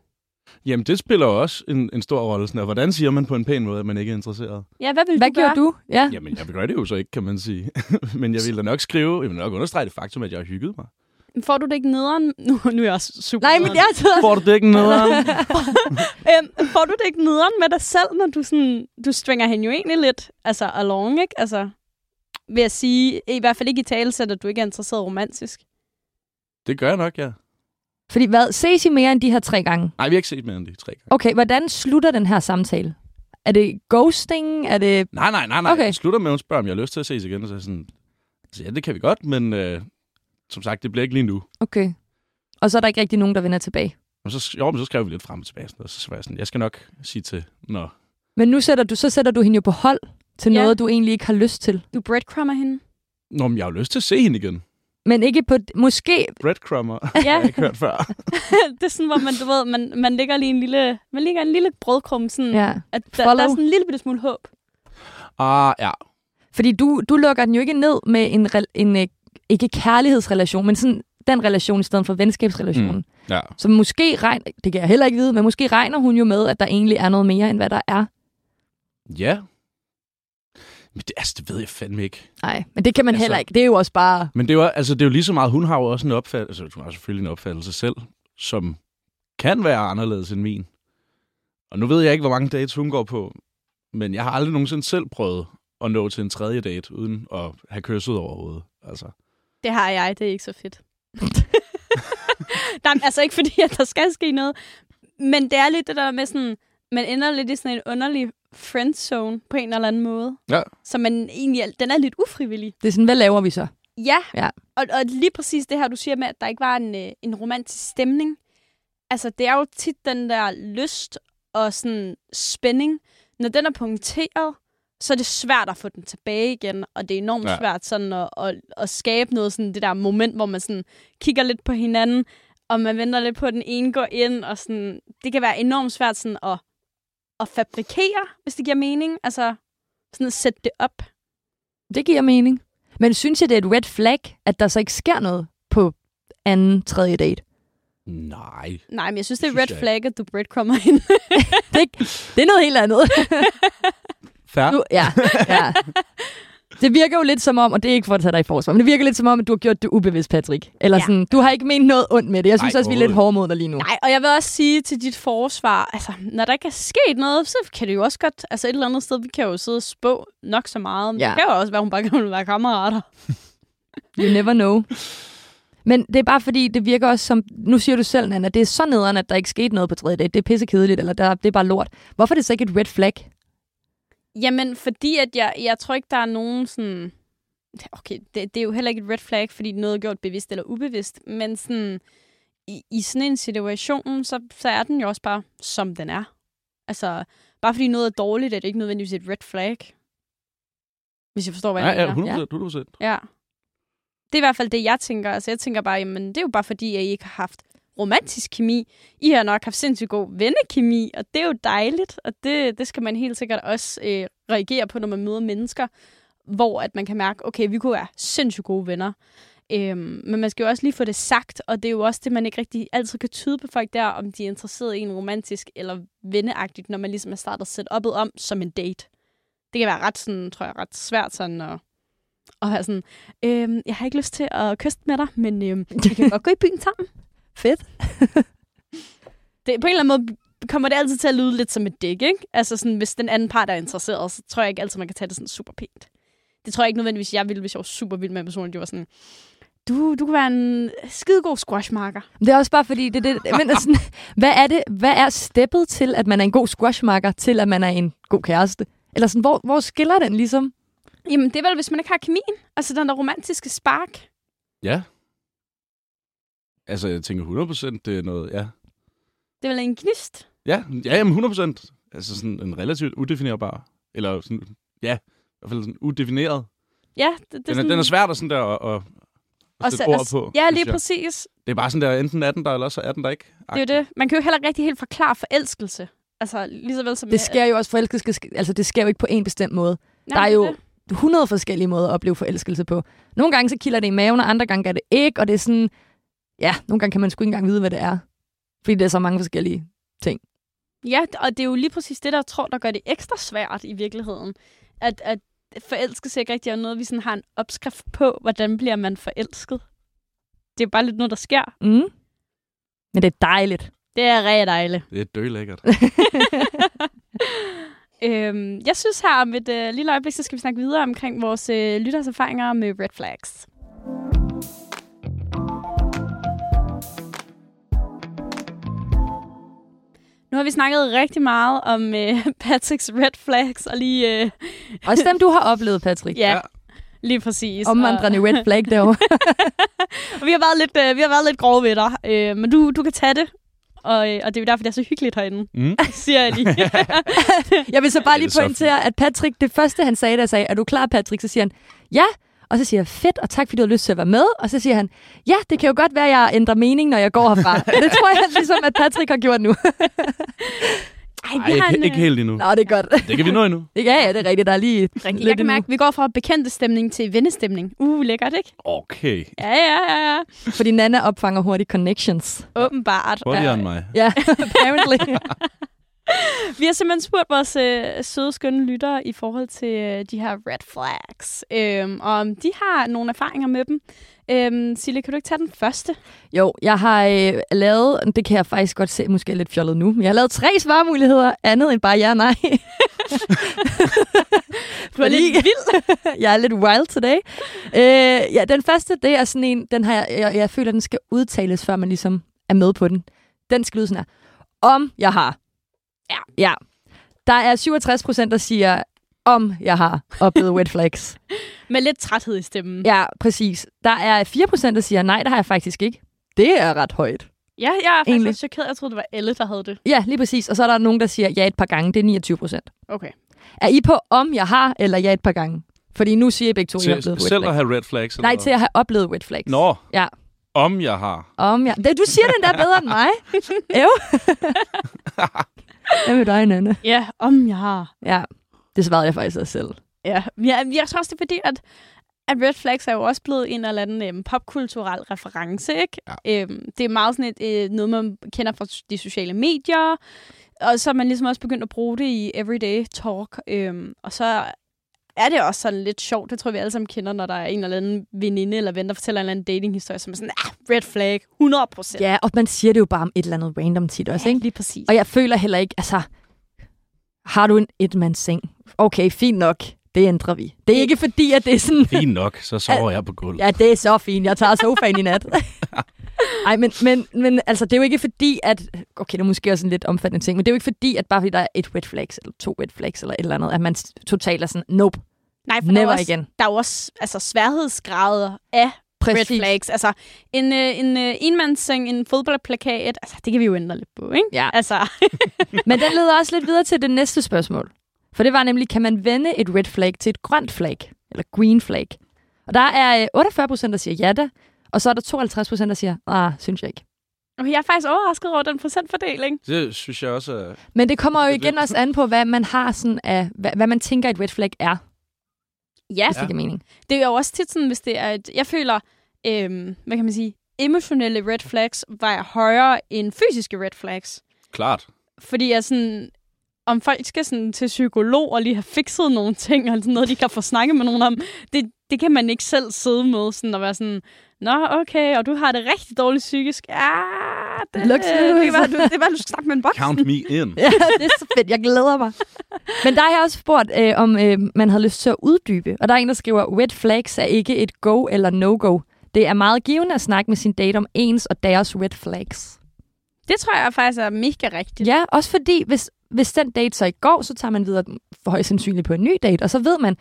C: Jamen, det spiller også en, en stor rolle. Sådan, og hvordan siger man på en pæn måde, at man ikke er interesseret?
A: Ja, hvad vil
B: hvad
A: du gøre?
B: gjorde du? Ja.
C: Jamen, jeg gør det jo så ikke, kan man sige. Men jeg vil da nok skrive, jeg vil nok understrege det faktum, at jeg har hygget mig.
A: Får du det ikke nederen? Nu, nu er jeg også super
B: Nej, men jeg sidder...
C: Får du det ikke noget?
A: Øhm, får du det ikke nederen med dig selv, når du sådan, du stringer hende jo egentlig lidt altså along, ikke? Altså, ved at sige, i hvert fald ikke i tale, at du ikke er interesseret romantisk.
C: Det gør jeg nok, ja.
B: Fordi hvad? Ses I mere end de her tre gange?
C: Nej, vi har ikke set mere end de tre gange.
B: Okay, hvordan slutter den her samtale? Er det ghosting? Er det...
C: Nej, nej, nej, nej.
B: Okay.
C: Okay. Jeg slutter med, at hun spørger, om jeg har lyst til at ses igen. Og så er jeg sådan, altså, ja, det kan vi godt, men øh, som sagt, det bliver ikke lige nu.
B: Okay. Og så er der ikke rigtig nogen, der vender tilbage.
C: Og så, jo, men så skrev vi lidt frem og tilbage, sådan, noget, og så var jeg sådan, jeg skal nok sige til, når...
B: Men nu sætter du, så sætter du hende jo på hold til
A: Ja.
B: noget, du egentlig ikke har lyst til.
A: Du breadcrummer hende.
C: Nå, men jeg har jo lyst til at se hende igen.
B: Men ikke på... Måske...
C: Breadcrummer,
A: Ja,
C: har jeg ikke hørt før.
A: det er sådan, hvor man, du ved, man, man ligger lige en lille, man ligger en lille brødkrum, sådan,
B: Ja.
A: at der, der, er
B: follow.
A: sådan en lille bitte smule håb.
C: Ah, ja.
B: Fordi du, du lukker den jo ikke ned med en, rel- en øh, ikke kærlighedsrelation, men sådan den relation i stedet for venskabsrelationen. Mm.
C: Ja,
B: Så måske regner, det kan jeg heller ikke vide, men måske regner hun jo med, at der egentlig er noget mere, end hvad der er.
C: ja. Men det, altså, det ved jeg fandme ikke.
B: Nej, men det kan man
C: Altså-
B: heller ikke. Det er jo også bare...
C: Men det er, jo, altså, det er jo lige så meget, hun har jo også en opfattelse, altså, hun har selvfølgelig en opfattelse selv, som kan være anderledes end min. Og nu ved jeg ikke, hvor mange dates hun går på, men jeg har aldrig nogensinde selv prøvet at nå til en tredje date, uden at have kysset overhovedet. Altså,
A: Det har jeg, det er ikke så fedt. Nej, men altså ikke fordi, at der skal ske noget. Men det er lidt det der med sådan, man ender lidt i sådan en underlig friendzone på en eller anden måde.
C: Ja.
A: Så man egentlig, er- den er lidt ufrivillig.
B: Det er sådan, hvad laver vi så?
A: Ja,
B: Ja.
A: Og, og lige præcis det her, du siger med, at der ikke var en, øh, en romantisk stemning. Altså, det er jo tit den der lyst og sådan spænding. Når den er punkteret, så er det svært at få den tilbage igen, og det er enormt ja.
C: Ja.
A: svært sådan at, at, at skabe noget sådan det der moment, hvor man sådan kigger lidt på hinanden, og man venter lidt på, at den ene går ind, og sådan, det kan være enormt svært sådan at, at fabrikere, hvis det giver mening. Altså, sådan at sætte det op.
B: Det giver mening. Men synes jeg, det er et red flag, at der så ikke sker noget på anden, tredje date?
C: nej.
A: Nej, men jeg synes, det
C: Synes
A: er red
C: jeg
A: flag, at du breadcrummer hende.
B: Det, er ikke- det er noget helt andet.
C: Færre.
B: Du, ja, ja. Det virker jo lidt som om, og det er ikke for at tage dig i forsvar, men det virker lidt som om, at du har gjort det ubevidst, Patrick. Eller
A: Ja.
B: ja. sådan, du har ikke ment noget ondt med det. Jeg synes
C: Nej,
B: Ej, også, vi er lidt
C: overhovedet.
B: hårde mod dig lige nu.
A: Nej, og jeg vil også sige til dit forsvar, altså, når der ikke er sket noget, så kan det jo også godt, altså et eller andet sted, vi kan jo sidde og spå nok så meget, men ja.
B: Ja.
A: det kan jo også være, hun bare kan være kammerater.
B: You never know. Men det er bare fordi, det virker også som, nu siger du selv, Nana, det er så nederen, at der ikke skete noget på tredje date. Det er pissekedeligt, eller der, det er bare lort. Hvorfor er det så ikke et red flag?
A: Jamen, fordi at jeg, jeg tror ikke, der er nogen sådan... Okay, det, det er jo heller ikke et red flag, fordi noget er gjort bevidst eller ubevidst, men sådan, i, i sådan en situation, så, så er den jo også bare, som den er. Altså, bare fordi noget er dårligt, er det ikke nødvendigvis et red flag. Hvis jeg forstår, hvad
C: Nej,
A: jeg mener.
C: ja, 100 100
A: Ja. Det er i hvert fald det, jeg tænker. Altså, jeg tænker bare, jamen, det er jo bare fordi, at I ikke har haft romantisk kemi. I har nok haft sindssygt god vennekemi, og det er jo dejligt. Og det, det skal man helt sikkert også øh, reagere på, når man møder mennesker, hvor at man kan mærke, okay, vi kunne være sindssygt gode venner. Øhm, men man skal jo også lige få det sagt, og det er jo også det, man ikke rigtig altid kan tyde på folk der, om de er interesseret i en romantisk eller venneagtigt, når man ligesom har startet setup'et om som en date. Det kan være ret sådan, tror jeg, ret svært sådan at, at have sådan, øhm, jeg har ikke lyst til at kysse med dig, men øhm, vi kan godt gå i byen sammen.
B: Fedt.
A: Det, på en eller anden måde kommer det altid til at lyde lidt som et dæk, ikke? Altså sådan, hvis den anden part er interesseret, så tror jeg ikke altid, man kan tage det sådan super pænt. Det tror jeg ikke nødvendigvis, jeg ville, hvis jeg var super vild med en person, og de var sådan, du, du kan være en skidegod squashmarker.
B: Det er også bare fordi, det, det, men er sådan, hvad er det, hvad er steppet til, at man er en god squashmarker, til at man er en god kæreste? Eller sådan, hvor, hvor skiller den ligesom?
A: Jamen, det er vel, hvis man ikke har kemien. Altså den der romantiske spark.
C: Ja. Altså, jeg tænker 100 det er noget, ja.
A: Det er vel en gnist.
C: Ja, ja jamen 100 Altså sådan en relativt udefinerbar, eller sådan, ja, i hvert fald sådan udefineret
A: Ja, det, det er
C: den, er,
A: sådan,
C: den er svært at, sådan der, at, at, at sætte ord på.
A: Ja,
C: synes
A: lige
C: jeg.
A: præcis.
C: Det er bare sådan der, enten er den der, eller så er den der ikke.
A: Det er jo det. Man kan jo heller ikke rigtig helt forklare forelskelse. Altså, lige så vel som...
B: Det sker jo også forelskelse, altså det sker jo ikke på en bestemt måde.
A: Nej,
B: der er
A: det
B: jo
A: det.
B: 100 forskellige måder at opleve forelskelse på. Nogle gange så kilder det i maven, og andre gange gør det ikke, og det er sådan, ja, nogle gange kan man sgu ikke engang vide, hvad det er. Fordi der er så mange forskellige.
A: Ja, og det er jo lige præcis det, der jeg tror, der gør det ekstra svært i virkeligheden. At, at forelskelse ikke rigtig er noget, vi sådan har en opskrift på, hvordan bliver man forelsket. Det er bare lidt noget, der sker.
B: Mm. Men det er dejligt.
A: Det er rigtig dejligt.
C: Det er dødlækkert.
A: øhm, jeg synes her om et øh, lille øjeblik, så skal vi snakke videre omkring vores øh, lytters erfaringer med red flags. Nu har vi snakket rigtig meget om øh, Patricks red flags, og lige... Øh,
B: Også dem, du har oplevet, Patrick.
A: ja,
C: Ja.
A: ja, lige præcis.
B: Omvandrende red flag derovre.
A: Og vi har været lidt, øh, vi har været lidt grove ved dig, øh, men du, du kan tage det. Og, øh, og det er jo derfor, det er så hyggeligt herinde,
C: Mm.
A: siger jeg lige.
B: Jeg vil så bare
C: Det er
B: lige
C: så
B: pointere, at Patrick, det første han sagde, da jeg sagde, er du klar, Patrick? Så siger han, ja. Og så siger jeg, fedt, og tak, fordi du har lyst til at være med. Og så siger han, ja, det kan jo godt være, at jeg ændrer mening, når jeg går herfra. det tror jeg ligesom, at Patrick har gjort nu.
A: Ej,
C: Nej, ikke,
A: øh,
C: ikke helt endnu.
B: Nå, det er godt.
C: Det kan vi nå endnu.
B: Ja, ja, det er rigtigt. Der er lige
A: Rigtig. Jeg kan
B: endnu.
A: mærke, at vi går fra bekendte stemning til vennestemning. Uh, lækkert, ikke?
C: Okay.
A: Ja, ja, ja. ja.
B: Fordi Nana opfanger hurtigt connections.
A: Åbenbart.
C: Hurtigere end mig.
B: Ja, apparently.
A: Vi har simpelthen spurgt vores øh, søde, skønne lyttere i forhold til øh, de her red flags. Øhm, og om de har nogle erfaringer med dem. Øhm, Sille, kan du ikke tage den første?
B: jo, jeg har øh, lavet, det kan jeg faktisk godt se, måske er lidt fjollet nu, men jeg har lavet tre svarmuligheder, andet end bare ja og nej.
A: Du er lidt vild.
B: jeg er lidt wild today. Øh, ja, den første, det er sådan en, den har jeg, jeg, jeg føler, den skal udtales, før man ligesom er med på den. Den skal lyde sådan her. Om jeg har. Ja. ja. Der er 67 procent, der siger, om jeg har oplevet red flags.
A: Med lidt træthed i stemmen.
B: Ja, præcis. Der er 4 procent, der siger, nej, det har jeg faktisk ikke. Det er ret højt.
A: ja jeg er faktisk
B: Egentlig.
A: lidt chokeret. Jeg troede, det var alle, der havde det.
B: Ja, lige præcis. Og så er der nogen, der siger, ja et par gange. Det er 29 procent.
A: Okay.
B: Er I på, om jeg har, eller ja et par gange? Fordi nu siger I begge to, at I har
C: Til,
B: oplevet red
C: selv at
B: flags.
C: have red flags? eller
B: Nej,
C: hvad?
B: til at have oplevet red flags.
C: Nå,
B: Ja.
C: om jeg har.
B: Om jeg... Det, du siger den der bedre end mig. Ev. Hvad med dig, Nanne?
A: Ja, om jeg har.
B: Ja, det svarede jeg faktisk også selv.
A: Ja, men jeg, jeg tror også, det er fordi, at, at red flags er jo også blevet en eller anden øhm, popkulturel reference, ikke? Ja. Øhm, det er meget sådan et, øh, noget, man kender fra de sociale medier, og så er man ligesom også begyndt at bruge det i everyday talk, øhm, og så er det også sådan lidt sjovt, det tror jeg, vi alle sammen kender, når der er en eller anden veninde eller ven, der fortæller en eller anden datinghistorie, som er sådan, ah, red flag, 100 procent.
B: Ja, og man siger det jo bare om et eller andet random tit også, ikke?
A: lige præcis.
B: Og jeg føler heller ikke, altså... Har du en etmandsseng? Okay, fint nok. Det ændrer vi. Det er ikke fordi, at det er sådan...
C: Fint nok, så sover jeg på gulvet.
B: Ja, det er så fint. Jeg tager sofaen i nat. Ej, men, men, men altså, det er jo ikke fordi, at... Okay, det er måske også en lidt omfattende ting, men det er jo ikke fordi, at bare fordi der er et red flags, eller to red flags, eller et eller andet, at man s- totalt er sådan, nope,
A: Nej, for der er,
B: never
A: jo også,
B: igen.
A: der er jo også altså, sværhedsgrader af Præcis. red flags. Altså, en, øh, en øh, enmandsseng, en fodboldplakat, altså, det kan vi jo ændre lidt på, ikke?
B: Ja.
A: Altså,
B: Men den leder også lidt videre til det næste spørgsmål. For det var nemlig, kan man vende et red flag til et grønt flag? Eller green flag? Og der er øh, 48 procent, der siger ja da. Og så er der 52 procent, der siger, ah, synes jeg ikke.
A: okay, jeg er faktisk overrasket over den procentfordeling.
C: Det synes jeg også er...
B: Men det kommer jo
C: Det er
B: igen
C: det.
B: også an på, hvad man har sådan af, hvad, hvad man tænker, et red flag er,
A: Ja,
B: hvis ja. det giver mening.
A: det er jo også tit sådan, hvis det er et... Jeg føler, øhm, hvad kan man sige, emotionelle red flags vejer højere end fysiske red flags.
C: Klart.
A: Fordi jeg sådan, om folk skal sådan til psykolog og lige have fikset nogle ting, og sådan noget, de kan få snakket med nogen om, det, det kan man ikke selv sidde med, sådan at være sådan, Nå, okay, og du har det rigtig dårligt psykisk. Ah, det,
B: Luk sig ud,
A: det, kan være,
B: så."
A: du, det kan være, du skal snakke med en voksen.
C: Count me in.
B: Ja, det er så fedt. Jeg glæder mig. Men der har jeg også spurgt, øh, om øh, man havde lyst til at uddybe. Og der er en, der skriver, red flags er ikke et go eller no-go. Det er meget givende at snakke med sin date om ens og deres red flags.
A: Det tror jeg faktisk er mega rigtigt.
B: Ja, også fordi, hvis, hvis den date så ikke går, så tager man videre for højst sandsynligt på en ny date. Og så ved man,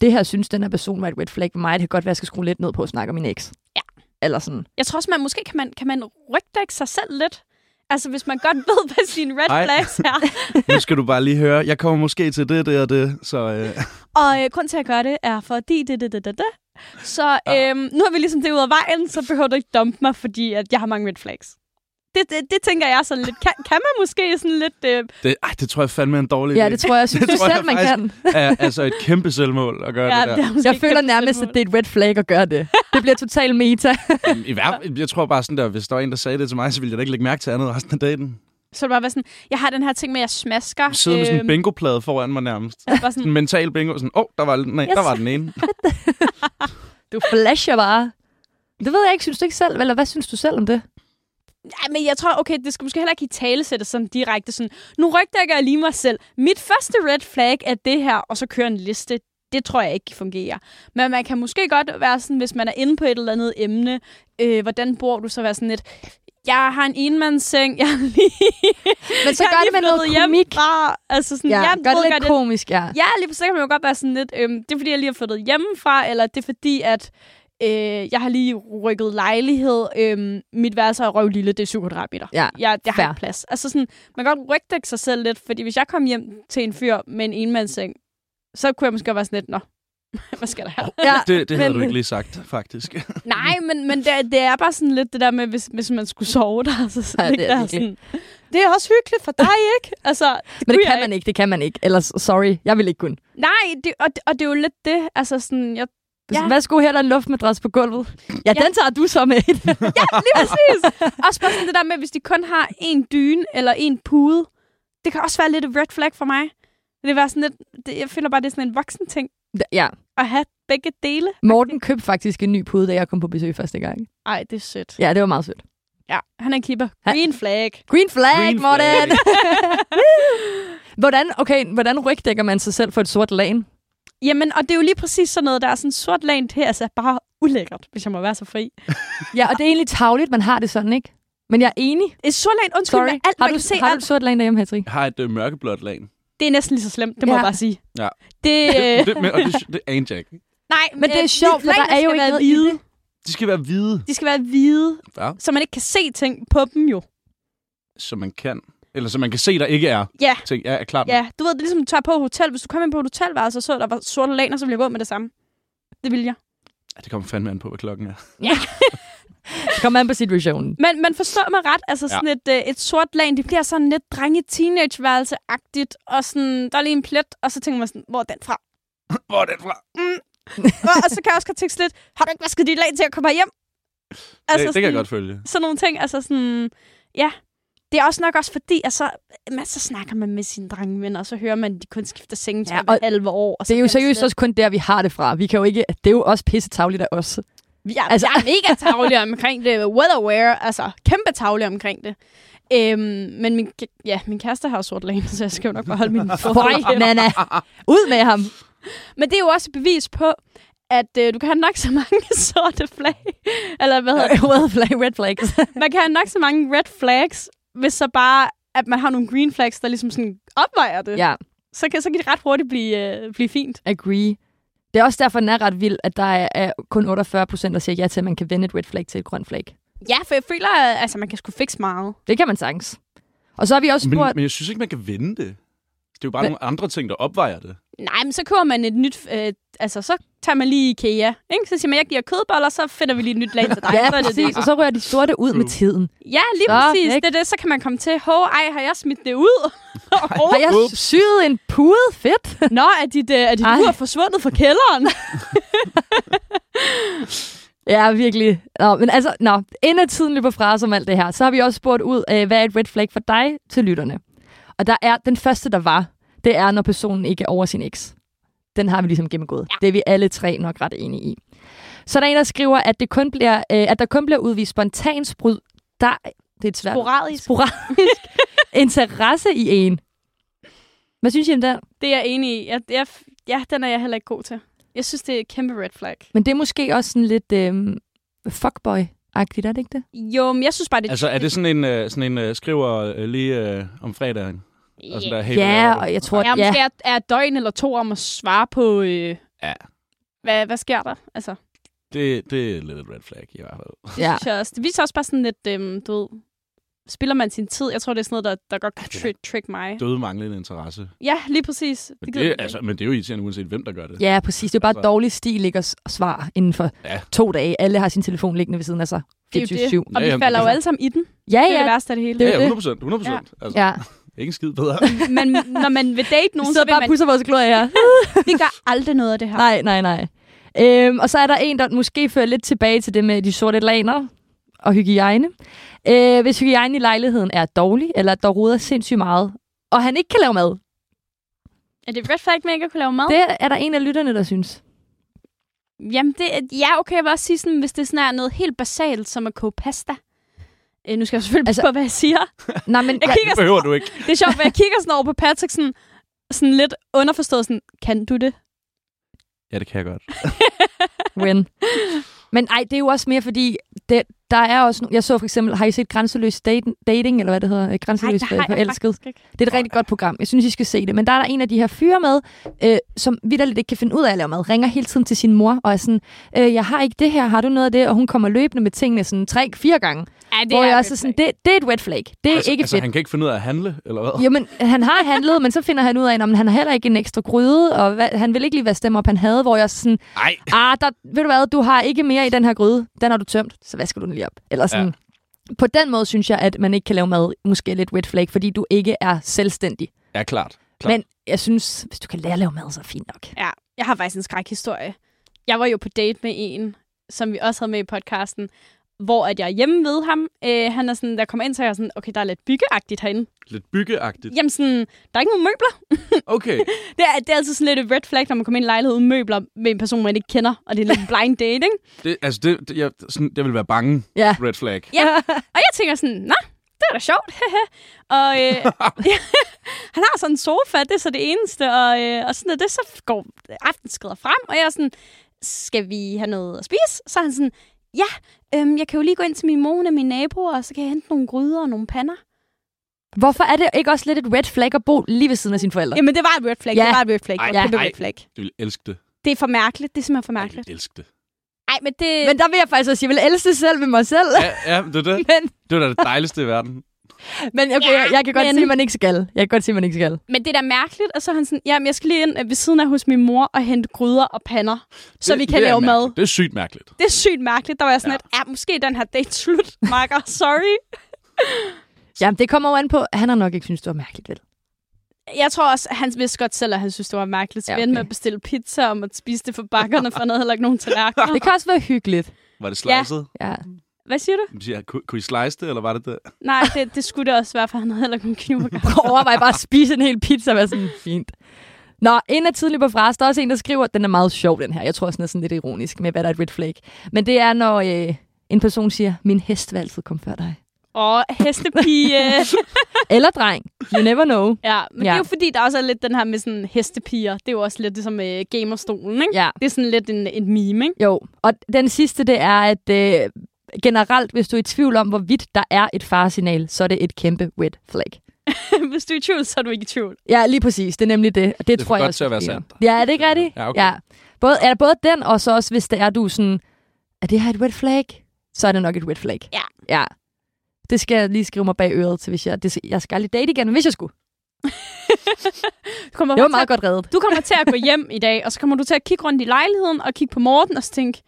B: det her synes den her person var et red flag for mig. Det kan godt være, at jeg skal skrue lidt ned på at snakke om min eks.
A: Ja.
B: Eller sådan.
A: Jeg tror også, man måske kan man, kan man rygdække sig selv lidt. Altså, hvis man godt ved, hvad sine red
C: Ej.
A: flags er.
C: Nu skal du bare lige høre. Jeg kommer måske til det, det og det. Så øh,
A: Og øh, grund til at gøre det er, fordi det, det, det, det, det Så
C: Ja.
A: øhm, nu har vi ligesom det ud af vejen, så behøver du ikke dumpe mig, fordi at jeg har mange red flags. Det, det, det tænker jeg sådan lidt. Kan, kan man måske sådan lidt... Øh,
C: Det, ej, det tror jeg fandme er en dårlig
B: Ja,
C: idé.
B: det tror jeg, jeg synes
C: Det
B: du
C: tror jeg
B: selv, man
C: faktisk-
B: kan.
C: er altså et kæmpe selvmål at gøre ja, det der.
A: det er måske
B: Jeg
A: ikke
B: føler
A: et
B: nærmest, at
A: selvmål.
B: det er et red flag at gøre det. Det bliver total meta.
C: Jamen, I hver, jeg tror bare sådan der, hvis der var en, der sagde det til mig, så ville jeg da ikke lægge mærke til andet resten af dagen.
A: Så det bare være sådan, jeg har den her ting med, at jeg smasker.
C: Sidde med sådan en
A: øhm,
C: bingoplade foran mig nærmest.
A: bare sådan,
C: Sådan en mental bingo. Sådan, åh, oh, der, var, nej,
A: Yes.
C: der var den ene.
B: Du flasher bare. Det ved jeg ikke. Synes du ikke selv? Eller hvad synes du selv om det?
A: Ja, men jeg tror, okay, det skal måske heller ikke i tale sætte sådan direkte sådan, nu rygdækker jeg lige mig selv. Mit første red flag er det her, og så kører en liste. Det tror jeg ikke fungerer. Men man kan måske godt være sådan, hvis man er inde på et eller andet emne, øh, hvordan bor du så være sådan lidt, jeg har en enmandsseng, jeg er lige,
B: Men så
A: jeg er
B: gør
A: lige
B: det med noget
A: flyttet
B: komik.
A: hjemmefra." Altså sådan,
B: Ja,
A: jeg
B: gør det
A: ved
B: lidt
A: godt, at-
B: komisk, ja.
A: Ja, lige præcis, så kan man jo godt være sådan lidt, øhm, det er fordi, jeg lige har flyttet hjemmefra, eller det er fordi, at øh, jeg har lige rykket lejlighed. Øhm, mit værelse er røv lille, det er 7 kvadratmeter.
B: Ja,
A: jeg, jeg
B: fair.
A: har ikke plads. Altså sådan, man kan godt rygdække sig selv lidt, fordi hvis jeg kom hjem til en fyr med en enmandsseng, så kunne jeg måske godt være sådan lidt, nå, hvad skal der her?
B: ja.
C: Oh, Det, det havde
B: men-
C: du ikke lige sagt, faktisk.
A: Nej, men, men det, er- det er bare sådan lidt det der med, hvis, hvis man skulle sove der, så
B: Ja,
A: sådan,
B: det
A: det,
B: er
A: der
B: virkelig.
A: sådan, det er også hyggeligt for dig, ikke? Altså,
B: Men
A: kunne
B: det
A: jeg
B: kan man ikke, det kan man ikke. Ellers, sorry, jeg vil ikke kunne.
A: Nej, det, og, og det er jo lidt det. Altså sådan, jeg,
B: Ja.
A: Ja.
B: Værsgo, her er der en luftmadras på gulvet. Ja,
A: Ja.
B: den tager du så med.
A: Lige præcis. også bare sådan det der med, hvis de kun har en dyne eller en pude. Det kan også være lidt et red flag for mig. Det vil være sådan lidt, det, jeg føler bare, det er sådan en voksen ting
B: ja.
A: at have begge dele.
B: Morten købte faktisk en ny pude, da jeg kom på besøg første gang.
A: Ej, det er sødt.
B: Ja, det var meget sødt.
A: Ja, han er en keeper.
B: Han-
A: Green flag.
B: Green flag, Green
C: Green flag.
B: Morten! hvordan, okay, hvordan rygdækker man sig selv for et sort lagen?
A: Jamen, og det er jo lige præcis sådan noget, der er sådan sort lag til, altså bare ulækkert, hvis jeg må være så fri.
B: Ja, og det er egentlig tavligt, man har det sådan, ikke? Men jeg er enig.
A: Et sort lag, undskyld,
B: Sorry.
A: med alt,
B: har
A: man
B: du,
A: kan se
B: har du et
A: alt.
B: sort lagen derhjemme, Patrick?
C: Jeg har et øh, mørkeblåt lag.
A: Det er næsten lige så slemt, det må
B: Ja.
A: jeg bare sige.
C: Ja.
A: Det, øh,
C: Det, det, men- og det, det anede jeg ikke.
A: nej,
B: Men det
A: øh,
B: er sjovt, for der
A: lagene
B: er jo
A: skal
B: ikke
A: være
B: noget i
A: hvide.
B: det.
C: De skal være hvide,
A: De skal være hvide,
C: Ja.
A: så man ikke kan se ting på dem jo.
C: så man kan. Eller så man kan se, der ikke er.
A: Ja.
C: Tænk, jeg er klar. med.
A: Ja, du ved, det er ligesom, du tager på hotel. Hvis du kom ind på et hotelværelse og så, der var sorte laner, så ville jeg gå med det samme. Det ville jeg.
C: Ja, Det kommer fandme an på, hvad klokken er.
B: Så kommer an på situationen.
A: Men man forstår mig ret, altså
C: Ja.
A: sådan et, øh, et sort lag, det bliver sådan lidt drenge teenageværelse agtigt og sådan, der er lige en plet, og så tænker man sådan, hvor er den fra? Mm.
C: Hvor er den fra?
A: og, og, så kan jeg også godt tænke sådan lidt, har du ikke vasket dit lag til at komme hjem?
C: Altså, det, det kan jeg
A: sådan-
C: godt følge.
A: sådan nogle ting. Altså sådan, ja. Det er også nok også fordi, at så, man, så snakker man med sine drengevenner, og så hører man, at de kun skifter sengetøj
B: Ja,
A: ja,
B: og
A: og 11 år. Og
B: Det er jo
A: kan man
B: seriøst
A: slet-
B: også kun der, vi har det fra. Vi kan jo ikke, det er jo også pisse tavligt af os.
A: Vi er,
B: Altså-
A: altså, jeg er mega tavlig omkring det. Well aware, altså kæmpe tavlig omkring det. Øhm, men min, kæ- ja, min kæreste har jo sort lane, så jeg skal jo nok bare holde min
B: Føj,
A: forhold.
B: Nana. Ud med ham.
A: Men det er jo også et bevis på, at øh, du kan have nok så mange sorte flag. Eller hvad hedder det?
B: Red flag, red flags.
A: Man kan have nok så mange red flags, hvis så bare at man har nogle green flags, der ligesom sådan opvejer det.
B: ja,
A: så kan, så kan det ret hurtigt blive, øh, blive fint.
B: agree. Det er også derfor, den er ret vild, at der er, er kun 48 procent, der siger ja til, at man kan vende et red flag til et grønt flag.
A: Ja, for jeg føler, at altså, man kan sgu fikse meget.
B: Det kan man sagtens. Og så har vi også
C: Men,
B: spurgt...
C: men jeg synes ikke, man kan vende det. Det er jo bare
B: Men-
C: men... nogle andre ting, der opvejer det.
A: Nej, men så køber man et nyt... Øh, altså, så tager man lige IKEA. Ikke? Så siger man, jeg giver kødboller, så finder vi lige et nyt lag til dig.
B: Ja,
A: så er det Mm.
B: præcis. Og
A: det.
B: så rører de sorte ud med
C: True.
B: tiden.
A: Ja, lige
B: Så,
A: præcis.
B: ikke?
A: Det er det. Så kan man komme til, hov, ej, har jeg smidt det ud? Hov,
B: Har jeg
C: Ups.
B: syet en pude? Fedt.
A: Nå, er dit, øh, er dit
B: Ej.
A: ur forsvundet fra kælderen?
B: Ja, virkelig. Nå, men altså, nå, inden tiden løber fra os om alt det her, så har vi også spurgt ud, øh, hvad er et red flag for dig til lytterne? Og der er den første, der var, det er, når personen ikke er over sin eks. Den har vi ligesom gennemgået. Ja. Det er vi alle tre nok ret enige i. Så er der en, der skriver, at, det kun bliver, øh, at der kun bliver udvist spontan sprud... Der, det er et svært...
A: Sporadisk.
B: sporadisk interesse i en. Hvad synes I om det?
A: Det er jeg enig i. Jeg, jeg, ja, den er jeg heller ikke god til. Jeg synes, det er et kæmpe red flag.
B: Men det er måske også sådan lidt øh, fuckboy-agtigt, er det ikke det?
A: Jo, men jeg synes bare, det
C: Altså, er det sådan en, øh, sådan en øh, skriver øh, lige øh, om fredagen? Og sådan der, hey, altså, hvad laver
B: ja,
C: du?
B: og jeg tror,
A: Ja,
B: ja,
A: måske er, er et døgn eller to om at svare på, øh,
C: Ja.
A: hvad, hvad sker der? Altså,
C: Det, det er lidt et red flag i hvert fald.
B: ja.
A: ja. synes jeg også, det viser også bare sådan lidt, øh, øhm, du ved, spiller man sin tid. Jeg tror, det er sådan noget, der, der godt kan
C: det er
A: tri- trick mig.
C: Døde manglende interesse.
A: Ja, lige præcis.
C: Men
A: gider
C: det,
A: jeg
C: er-
A: ikke.
C: altså, men det er jo irriterende, uanset hvem, der gør det.
B: Ja, præcis. Det er jo bare
C: Altså-
B: altså. dårlig stil ikke at s- at svare inden for
C: Ja.
B: ja. to dage. Alle har sin telefon liggende ved siden af sig.
A: Det er jo det.
B: 24-7.
A: Og vi
C: Ja, jamen,
A: falder jo
C: altså-
A: alle sammen i den.
B: Ja,
A: Det er det
B: ja.
A: værste af det hele.
B: Det er
C: ja,
B: jo
C: ja,
B: det.
C: 100 100 Altså,
B: ja.
C: Ikke en skid bedre.
A: Men når man vil date nogen,
B: Vi
A: så
B: sidder
A: vil
B: bare og
A: man...
B: pusser vores glorie her.
A: Vi gør aldrig noget af det her.
B: Nej, nej, nej. Øhm, og så er der en, der måske fører lidt tilbage til det med de sorte laner og hygiejne. Øh, hvis hygiejne i lejligheden er dårlig, eller der ruder sindssygt meget, og han ikke kan lave mad,
A: Er det red flag, man ikke kunne lave mad?
B: det er der en af lytterne, der synes.
A: Jamen, det, er- ja, okay, jeg vil også sige sådan, hvis det sådan er noget helt basalt, som at koge pasta. Øh, nu skal jeg selvfølgelig altså,
B: Altså-
A: på, hvad jeg siger.
B: Nej, men
A: Jeg kigger,
C: Det behøver du ikke.
A: det er sjovt, for jeg kigger sådan over på Patrick, sådan, sådan lidt underforstået, sådan, kan du det?
C: Ja, det kan jeg godt.
B: win. Men ej, det er jo også mere, fordi det, der er også... no- Jeg så for eksempel, har I set Grænseløs Dating, dating eller hvad det hedder? Øh, Grænseløs
A: det har jeg
B: Forelsket?
A: faktisk ikke.
B: Det er et rigtig godt program. Jeg synes, I skal se det. Men der er der en af de her fyre med, øh, som vidderligt ikke kan finde ud af at lave mad. Ringer hele tiden til sin mor og er sådan, øh, jeg har ikke det her, har du noget af det? Og hun kommer løbende med tingene sådan tre, fire gange. Det
A: Ja, det
B: hvor
A: er
B: jeg
A: red
B: også er sådan,
A: flag.
B: det, det er et red flag. Det er
C: altså,
B: altså, ikke
C: altså,
B: fedt.
C: han kan ikke finde ud af at handle, eller hvad?
B: Jo, men han har handlet, men så finder han ud af, at han har heller ikke en ekstra gryde, og hvad, han vil ikke lige være stemme op, han havde, hvor jeg er sådan,
C: Nej.
B: ah, der, ved du hvad, du har ikke mere i den her gryde, den har du tømt, så hvad skal du den lige op? Eller sådan.
C: Ja.
B: Ja. På den måde synes jeg, at man ikke kan lave mad, måske er lidt red flag, fordi du ikke er selvstændig.
C: Ja, klart. klart.
B: Klar. Men jeg synes, hvis du kan lære at lave mad, så er det fint nok.
A: Ja, jeg har faktisk en skrækhistorie. Jeg var jo på date med en, som vi også havde med i podcasten, hvor at jeg er hjemme ved ham. Øh, han er sådan, der kommer ind, så er jeg sådan, okay, der er lidt byggeagtigt herinde.
C: Lidt byggeagtigt.
A: Jamen sådan, der er ikke nogen møbler.
C: Okay.
A: Det er, det er altid sådan lidt et red flag, når man kommer ind i en lejlighed uden møbler med en person, man ikke kender, og det er lidt blind date, ikke?
C: Det, altså, det, det, jeg, sådan, jeg vil være bange.
B: Ja.
C: Red flag.
A: Ja, og jeg tænker sådan, nå, det var da sjovt. og øh, han har sådan en sofa, det er så det eneste, og, øh, og sådan noget, det, så går aftenskrider frem, og jeg er sådan, skal vi have noget at spise? Så er han sådan, ja, øhm, jeg kan jo lige gå ind til min mor og min nabo, og så kan jeg hente nogle gryder og nogle pander.
B: Hvorfor er det ikke også lidt et red flag at bo lige ved siden af sine forældre?
A: Jamen, det var et red flag,
B: Ja.
A: det var et red flag,
C: Ej,
A: det var et kæmpe
C: ej.
A: red flag.
C: Du vil elske det.
A: Det er for mærkeligt, det er simpelthen for
C: Jeg vil
A: mærkeligt.
C: elske det.
A: Nej, men det...
B: Men der vil jeg faktisk også sige, jeg vil elske det selv ved mig selv.
C: Ja, ja det er det.
B: men,
C: Det var da det dejligste i verden.
B: men okay,
A: Ja,
B: jeg, jeg kan godt
A: men-
B: men... se, at man ikke skal. Jeg kan godt se, at man ikke skal.
A: Men det er da mærkeligt, og så er han sådan, jamen jeg skal lige ind øh, ved siden af hos min mor og hente gryder og pander, så
C: det,
A: vi kan
C: det
A: lave
C: er
A: mad.
C: mærkeligt. Det er sygt mærkeligt.
A: Det er sygt mærkeligt. Der var jeg sådan
C: Ja.
A: ja. lidt, ja, måske er den her date slut, Marker, sorry.
B: Jamen, det kommer jo an på, han har nok ikke synes, det var mærkeligt, vel?
A: Jeg tror også, han vidste godt selv, at han synes, det var mærkeligt. Så
B: Ja,
A: vi endte med
B: okay.
A: at bestille pizza om at spise det for bakkerne, for han havde heller ikke nogen tallerkener.
B: Det kan også være hyggeligt.
C: Var det slicet?
B: Ja.
A: Hvad siger du?
C: Ja. Siger, jeg, kunne, kunne I slice det, eller var det det?
A: Nej, det, det skulle det også være, for han havde heller ikke nogen kniv. og gaffel.
B: Prøv at overveje bare at spise en hel pizza og være sådan, fint. Nå, en af tidlig på fras, der er også en, der skriver, den er meget sjov, den her. Jeg tror også, den er sådan lidt ironisk med, hvad der er et red flag. Men det er, når øh, en person siger, min hest vil altid komme før dig.
A: Åh, hestepige.
B: Eller dreng. You never know.
A: Ja, men ja. det er
B: Ja.
A: jo fordi, der også er lidt den her med sådan hestepiger. Det er jo også lidt ligesom øh, gamerstolen, ikke?
B: Ja.
A: Det er sådan lidt en, en meme, ikke?
B: Jo, og den sidste, det er, at øh, generelt, hvis du er i tvivl om, hvorvidt der er et faresignal, så er det et kæmpe red flag.
A: Hvis du er i tvivl, så er du ikke i tvivl.
B: Ja, lige præcis. Det er nemlig det. Og det,
C: er for
B: tror jeg
C: godt
B: også,
C: til at være
B: det er.
C: sandt.
B: Ja, er det ikke rigtigt?
C: Ja, okay.
B: ja. Både, er der både den, og så også, hvis det er, du er sådan, er det her et red flag? Så er det nok et red flag.
A: Ja.
B: Ja. Det skal jeg lige skrive mig bag øret til, hvis jeg... Det, jeg skal aldrig date igen, hvis jeg skulle.
A: Du kommer,
B: Det var
A: til at,
B: meget godt reddet.
A: du kommer til at gå hjem i dag, og så kommer du til at kigge rundt i lejligheden og kigge på Morten og så tænke,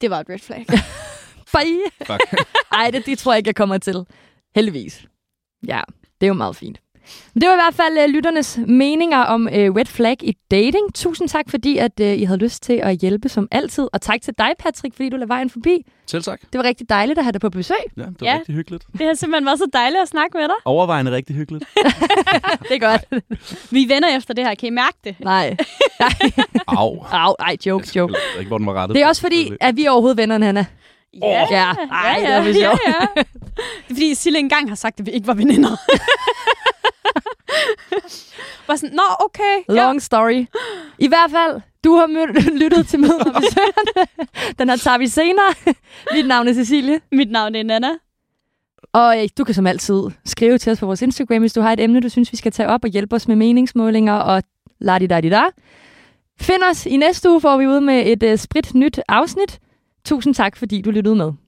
A: det var et red flag.
B: Bye.
C: Fuck.
B: Ej, det, det tror jeg ikke, jeg kommer til. Heldigvis. Ja, det er jo meget fint. Men det var i hvert fald øh, lytternes meninger om øh, red flag i dating. Tusind tak, fordi at øh, I havde lyst til at hjælpe som altid. Og tak til dig, Patrick, fordi du lavede vejen forbi.
C: Selv tak.
B: Det var rigtig dejligt at have dig på besøg.
C: Ja, det var
A: Ja.
C: ja. rigtig hyggeligt.
A: Det har simpelthen været så dejligt at snakke med dig.
C: Overvejende rigtig hyggeligt.
B: Det er godt.
A: Vi vender efter det her, kan I mærke det?
B: Nej.
C: Au.
B: Au, ej, joke,
C: Altså,
B: joke.
C: Jeg ved ikke, hvor den var rettet.
B: Det er
C: på.
B: også fordi, at vi er overhovedet vennerne, Hanna.
A: Ja,
B: Ja, ej, det var vist sjovt.
A: ja. Det er fordi, Sille engang har sagt, at vi ikke var veninder. Bare sådan, nå, okay. Ja.
B: Long story. I hvert fald, du har mød- lyttet til møder og besøgerne. Den her tager vi senere. Mit navn er Cecilie.
A: Mit navn er Nana.
B: Og øh, du kan som altid skrive til os på vores Instagram, hvis du har et emne, du synes, vi skal tage op og hjælpe os med meningsmålinger og la di da di da. Find os i næste uge, hvor vi er ude med et øh, sprit nyt afsnit. Tusind tak, fordi du lyttede med.